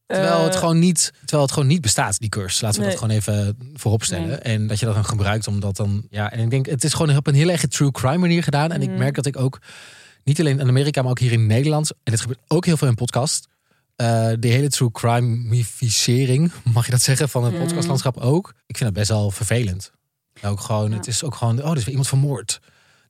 [SPEAKER 3] Terwijl, het
[SPEAKER 4] Eh,
[SPEAKER 3] gewoon niet, terwijl het gewoon niet bestaat, die cursus. Laten we dat
[SPEAKER 4] Nee.
[SPEAKER 3] gewoon even vooropstellen.
[SPEAKER 2] Nee.
[SPEAKER 3] En dat je dat dan gebruikt omdat dan... Ja, en ik denk, het is gewoon op een heel erg true crime manier gedaan. En ik merk dat ik ook, niet alleen in Amerika, maar ook hier in Nederland... en dit gebeurt ook heel veel in podcast... eh de hele true crime-ificering, [laughs] mag je dat zeggen, van het podcastlandschap ook. Ik vind dat best wel vervelend. En Nou, ook gewoon, het is ook gewoon, oh, er is weer iemand vermoord.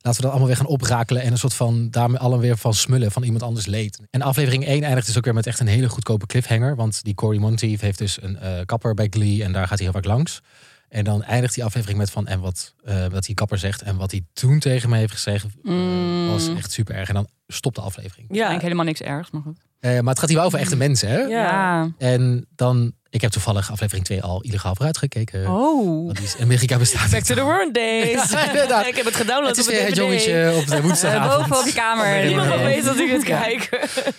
[SPEAKER 3] Laten we dat allemaal weer gaan oprakelen en een soort van daarmee allen weer van smullen van iemand anders leed. En aflevering 1 eindigt dus ook weer met echt een hele goedkope cliffhanger. Want die Cory Monteith heeft dus een eh, kapper bij Glee en daar gaat hij heel vaak langs. En dan eindigt die aflevering met van en wat, eh, wat die kapper zegt en wat hij toen tegen me heeft gezegd eh,
[SPEAKER 4] Mm.
[SPEAKER 3] was echt super erg. En dan stopt de aflevering.
[SPEAKER 4] Ja,
[SPEAKER 2] Eigenlijk helemaal niks ergs, maar goed.
[SPEAKER 3] Eh, maar het gaat hier wel over echte mensen, hè?
[SPEAKER 4] Mm. Ja.
[SPEAKER 3] En dan, ik heb toevallig aflevering 2 al illegaal vooruit gekeken.
[SPEAKER 2] Oh.
[SPEAKER 3] Want die is in Amerika bestaat.
[SPEAKER 4] Back to the World
[SPEAKER 2] [laughs]
[SPEAKER 3] [laughs]
[SPEAKER 4] Days.
[SPEAKER 3] Ja, inderdaad.
[SPEAKER 4] Ik heb het
[SPEAKER 3] Het
[SPEAKER 4] gedownload
[SPEAKER 3] is
[SPEAKER 4] op
[SPEAKER 3] weer
[SPEAKER 4] een
[SPEAKER 3] het
[SPEAKER 4] DVD.
[SPEAKER 3] jongetje op de woensdagavond.
[SPEAKER 2] Eh,
[SPEAKER 4] [laughs]
[SPEAKER 2] Boven op je kamer.
[SPEAKER 4] Niemand
[SPEAKER 3] Ja.
[SPEAKER 4] had weet dat ik
[SPEAKER 2] [laughs]
[SPEAKER 4] dit
[SPEAKER 2] Ja.
[SPEAKER 4] kijk.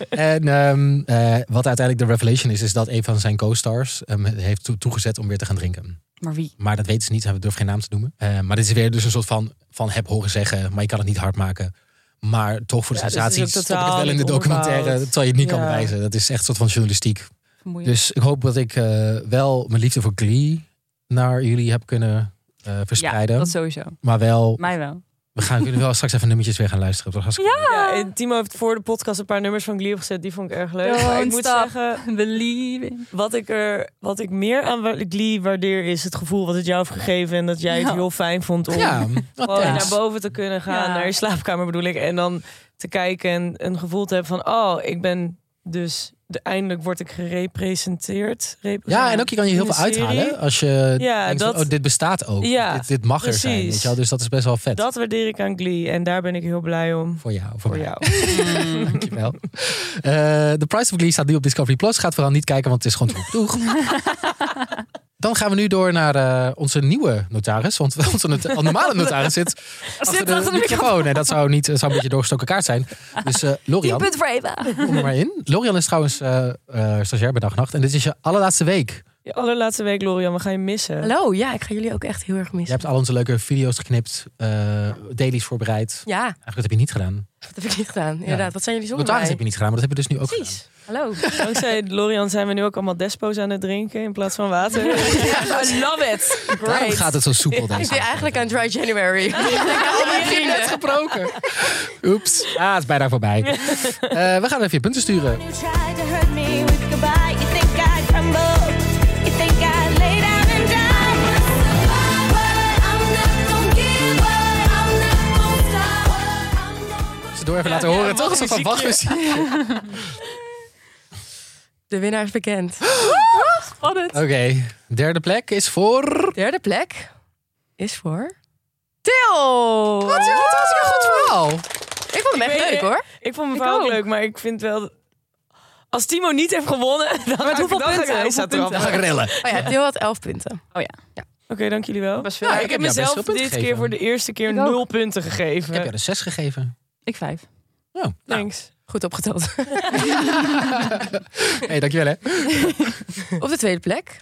[SPEAKER 3] En ehm, eh, wat uiteindelijk de revelation is, is dat een van zijn co-stars hem heeft toe- toegezet om weer te gaan drinken.
[SPEAKER 2] Maar wie?
[SPEAKER 3] Maar dat weten ze niet, we durven geen naam te noemen. Eh, maar dit is weer dus een soort van, van heb horen zeggen, maar je kan het niet hard maken. Maar toch voor de
[SPEAKER 4] Ja, dus het is
[SPEAKER 3] sensatie
[SPEAKER 4] ook
[SPEAKER 3] stop ik het
[SPEAKER 4] totaal
[SPEAKER 3] wel in de
[SPEAKER 4] niet
[SPEAKER 3] documentaire,
[SPEAKER 4] onderbouwd.
[SPEAKER 3] terwijl je het niet kan
[SPEAKER 4] Ja.
[SPEAKER 3] bewijzen. Dat is echt een soort van journalistiek.
[SPEAKER 2] Vermoeiend.
[SPEAKER 3] Dus ik hoop dat ik eh, wel mijn liefde voor Glee naar jullie heb kunnen eh,
[SPEAKER 2] ja,
[SPEAKER 3] verspreiden.
[SPEAKER 2] dat sowieso.
[SPEAKER 3] Maar wel
[SPEAKER 2] Mij wel.
[SPEAKER 3] We gaan kunnen wel straks even nummertjes weer gaan luisteren. Dat was hartstikke-
[SPEAKER 2] Ah.
[SPEAKER 4] Ja, en Timo heeft voor de podcast een paar nummers van Glee opgezet. Die vond ik erg leuk. Maar
[SPEAKER 2] Don't
[SPEAKER 4] ik moet
[SPEAKER 2] stop
[SPEAKER 4] zeggen,
[SPEAKER 2] believing.
[SPEAKER 4] Wat ik, er, wat ik meer aan wa- Glee waardeer is het gevoel wat het jou heeft gegeven. En dat jij het
[SPEAKER 2] Ja.
[SPEAKER 4] heel fijn vond om
[SPEAKER 3] Ja, wat
[SPEAKER 4] gewoon
[SPEAKER 3] thanks.
[SPEAKER 4] naar boven te kunnen gaan.
[SPEAKER 2] Ja.
[SPEAKER 4] Naar je slaapkamer bedoel ik. En dan te kijken en een gevoel te hebben van... Oh, ik ben dus... De, eindelijk word ik gerepresenteerd.
[SPEAKER 3] Ja, en ook je kan je heel
[SPEAKER 4] In de
[SPEAKER 3] veel uithalen.
[SPEAKER 4] serie.
[SPEAKER 3] hè, Als je
[SPEAKER 4] Ja,
[SPEAKER 3] denkt, van,
[SPEAKER 4] dat-
[SPEAKER 3] oh, dit bestaat ook.
[SPEAKER 4] Ja,
[SPEAKER 3] dit, dit mag er zijn.
[SPEAKER 4] precies.
[SPEAKER 3] Weet je wel? Dus dat is best wel vet.
[SPEAKER 4] Dat waardeer ik aan Glee. En daar ben ik heel blij om.
[SPEAKER 3] Voor jou. Voor,
[SPEAKER 4] Voor
[SPEAKER 3] mij.
[SPEAKER 4] jou.
[SPEAKER 3] Dankjewel. [laughs] Eh The Price of Glee staat nu op Discovery+. Plus. Gaat vooral niet kijken, want het is gewoon troep. Doeg.
[SPEAKER 4] [laughs]
[SPEAKER 3] Dan gaan we nu door naar eh, onze nieuwe notaris. Want [laughs] onze not- normale notaris
[SPEAKER 4] [laughs]
[SPEAKER 3] zit achter de,
[SPEAKER 2] achter de
[SPEAKER 3] microfoon. Nee, dat zou, niet, dat zou een beetje een doorgestoken kaart zijn. Dus eh
[SPEAKER 2] Die
[SPEAKER 3] Lorian,
[SPEAKER 2] punt voor Eva.
[SPEAKER 3] kom er maar in. Lorian is trouwens eh eh, stagiair bij Dag en Nacht. En dit is je allerlaatste week.
[SPEAKER 4] Je allerlaatste week, Lorian. We gaan je missen.
[SPEAKER 11] Hallo, ja, ik ga jullie ook echt heel erg
[SPEAKER 3] Je
[SPEAKER 11] missen.
[SPEAKER 3] hebt al onze leuke video's geknipt. eh dailies voorbereid.
[SPEAKER 11] Ja,
[SPEAKER 3] Eigenlijk dat heb je niet gedaan.
[SPEAKER 11] dat heb ik niet gedaan. Inderdaad, wat zijn jullie zonder
[SPEAKER 3] Notaris
[SPEAKER 11] mij?
[SPEAKER 3] heb je niet gedaan, maar dat heb je dus nu ook gedaan.
[SPEAKER 11] Precies. Hallo.
[SPEAKER 4] Dankzij Lorian zijn we nu ook allemaal despo's aan het drinken in plaats van water. I love it.
[SPEAKER 3] Daarom gaat het zo
[SPEAKER 11] [laughs]
[SPEAKER 3] soepel
[SPEAKER 11] Ik
[SPEAKER 3] deze
[SPEAKER 11] ben eigenlijk aan Dry January. Ik denk aan al mijn vrienden.
[SPEAKER 3] gebroken. [laughs] Oeps. Ah, het is bijna voorbij. Eh, we gaan even je punten sturen.
[SPEAKER 9] You tried to hurt me with goodbye. You think I'd crumble. You think I'd lay down and die. I'm a survivor. I'm not gonna give up. I'm not gonna stop. I'm not
[SPEAKER 3] Ze door even laten horen. Toch is van wachtmuziek.
[SPEAKER 11] [laughs] De winnaar is
[SPEAKER 3] [gasps]
[SPEAKER 11] bekend.
[SPEAKER 2] Spannend.
[SPEAKER 3] Oké, derde plek is voor...
[SPEAKER 11] Derde plek is voor... Til!
[SPEAKER 3] Wat, wat was een goed verhaal.
[SPEAKER 11] Ik vond hem
[SPEAKER 4] Ik
[SPEAKER 11] echt
[SPEAKER 4] weet-
[SPEAKER 11] leuk hoor.
[SPEAKER 4] Ik vond mijn verhaal ook
[SPEAKER 2] ook.
[SPEAKER 4] leuk, maar ik vind wel... dat- Als Timo niet heeft gewonnen, [laughs] dan ga ik-
[SPEAKER 2] hoeveel
[SPEAKER 4] dan ga ik
[SPEAKER 2] punten?
[SPEAKER 4] eruit
[SPEAKER 2] Hoeveel
[SPEAKER 4] staan trappen.
[SPEAKER 3] Dan ga ik rillen.
[SPEAKER 11] Oh ja, Til had elf punten.
[SPEAKER 4] Oké, dank jullie wel.
[SPEAKER 2] Best veel.
[SPEAKER 4] Ja,
[SPEAKER 3] ik
[SPEAKER 4] ik
[SPEAKER 3] heb jou
[SPEAKER 4] heb
[SPEAKER 3] best
[SPEAKER 4] mezelf
[SPEAKER 3] veel
[SPEAKER 4] dit
[SPEAKER 3] punten
[SPEAKER 4] keer
[SPEAKER 3] gegeven.
[SPEAKER 4] voor de eerste keer
[SPEAKER 2] Ik ook.
[SPEAKER 4] nul punten
[SPEAKER 3] Ik heb jou
[SPEAKER 4] gegeven.
[SPEAKER 3] de zes gegeven.
[SPEAKER 2] Ik vijf.
[SPEAKER 3] Oh, nou.
[SPEAKER 4] Thanks.
[SPEAKER 11] Goed [laughs] opgeteld.
[SPEAKER 3] hey, dankjewel hè.
[SPEAKER 11] Op de tweede plek,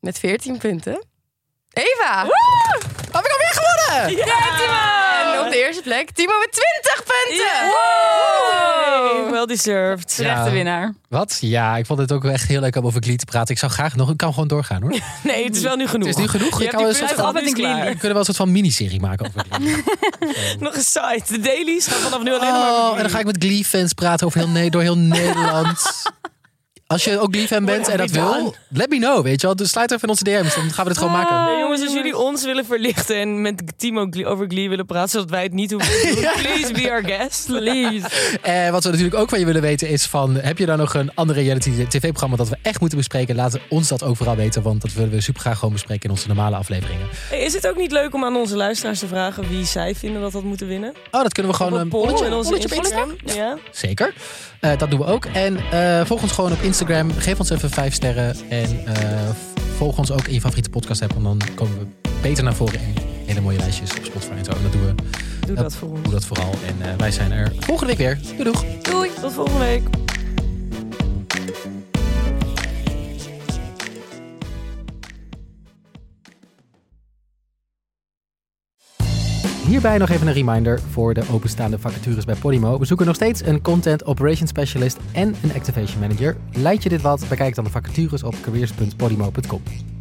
[SPEAKER 11] met 14 punten, Eva!
[SPEAKER 3] Heb ik alweer gewonnen?
[SPEAKER 11] En op de eerste plek, Timo met 20 punten!
[SPEAKER 4] Hey, well deserved.
[SPEAKER 2] Terechte winnaar.
[SPEAKER 3] Wat? Ja, ik vond het ook echt heel leuk om over Glee te praten. Ik zou graag nog... Ik kan gewoon doorgaan hoor.
[SPEAKER 4] Nee, het is wel nu genoeg.
[SPEAKER 3] Het is nu genoeg.
[SPEAKER 4] Je
[SPEAKER 3] Ik
[SPEAKER 4] hebt
[SPEAKER 3] kan
[SPEAKER 4] die
[SPEAKER 3] wel een soort van...
[SPEAKER 4] punten gehad
[SPEAKER 2] gehad
[SPEAKER 4] en
[SPEAKER 2] met een
[SPEAKER 4] klaar.
[SPEAKER 3] We kunnen wel een soort van miniserie maken over Glee.
[SPEAKER 4] Nog een site. De dailies gaan vanaf nu alleen maar...
[SPEAKER 3] [laughs] Oh, en dan ga ik met Glee-fans praten over heel, Ne- door heel Nederland. Als je ook Glee-fan bent en dat wil, let me know, weet je wel. Dus sluit even in onze DM's, dan gaan we dit gewoon maken.
[SPEAKER 4] Nee, jongens, als jullie ons willen verlichten en met Timo Glee- over Glee willen praten, zodat wij het niet hoeven te doen, please be our guest. Please.
[SPEAKER 3] En Eh, wat we natuurlijk ook van je willen weten is van... heb je dan nog een andere reality tv-programma dat we echt moeten bespreken? Laat ons dat ook vooral weten, want dat willen we super graag gewoon bespreken in onze normale afleveringen.
[SPEAKER 4] Hey, is het ook niet leuk om aan onze luisteraars te vragen wie zij vinden dat dat moeten winnen?
[SPEAKER 3] Oh, dat kunnen we gewoon...
[SPEAKER 4] Op
[SPEAKER 3] een
[SPEAKER 4] een polletje in
[SPEAKER 3] polletje-
[SPEAKER 4] onze
[SPEAKER 3] polletje op
[SPEAKER 4] Instagram. Ja.
[SPEAKER 3] Zeker. Eh, dat doen we ook. En eh, volg ons gewoon op Instagram. Geef ons even vijf sterren. En eh, volg ons ook in je favoriete podcast app. Want dan komen we beter naar voren. En hele mooie lijstjes op Spotify en zo. En dat doen we.
[SPEAKER 4] Doe dat voor ons.
[SPEAKER 3] Doe dat vooral. En eh, wij zijn er volgende week weer. Doei doeg.
[SPEAKER 4] Doei. Tot volgende week.
[SPEAKER 1] Hierbij nog even een reminder voor de openstaande vacatures bij Podimo. We zoeken nog steeds een Content Operations Specialist en een Activation Manager. Leid je dit wat? Bekijk dan de vacatures op careers.podimo.com.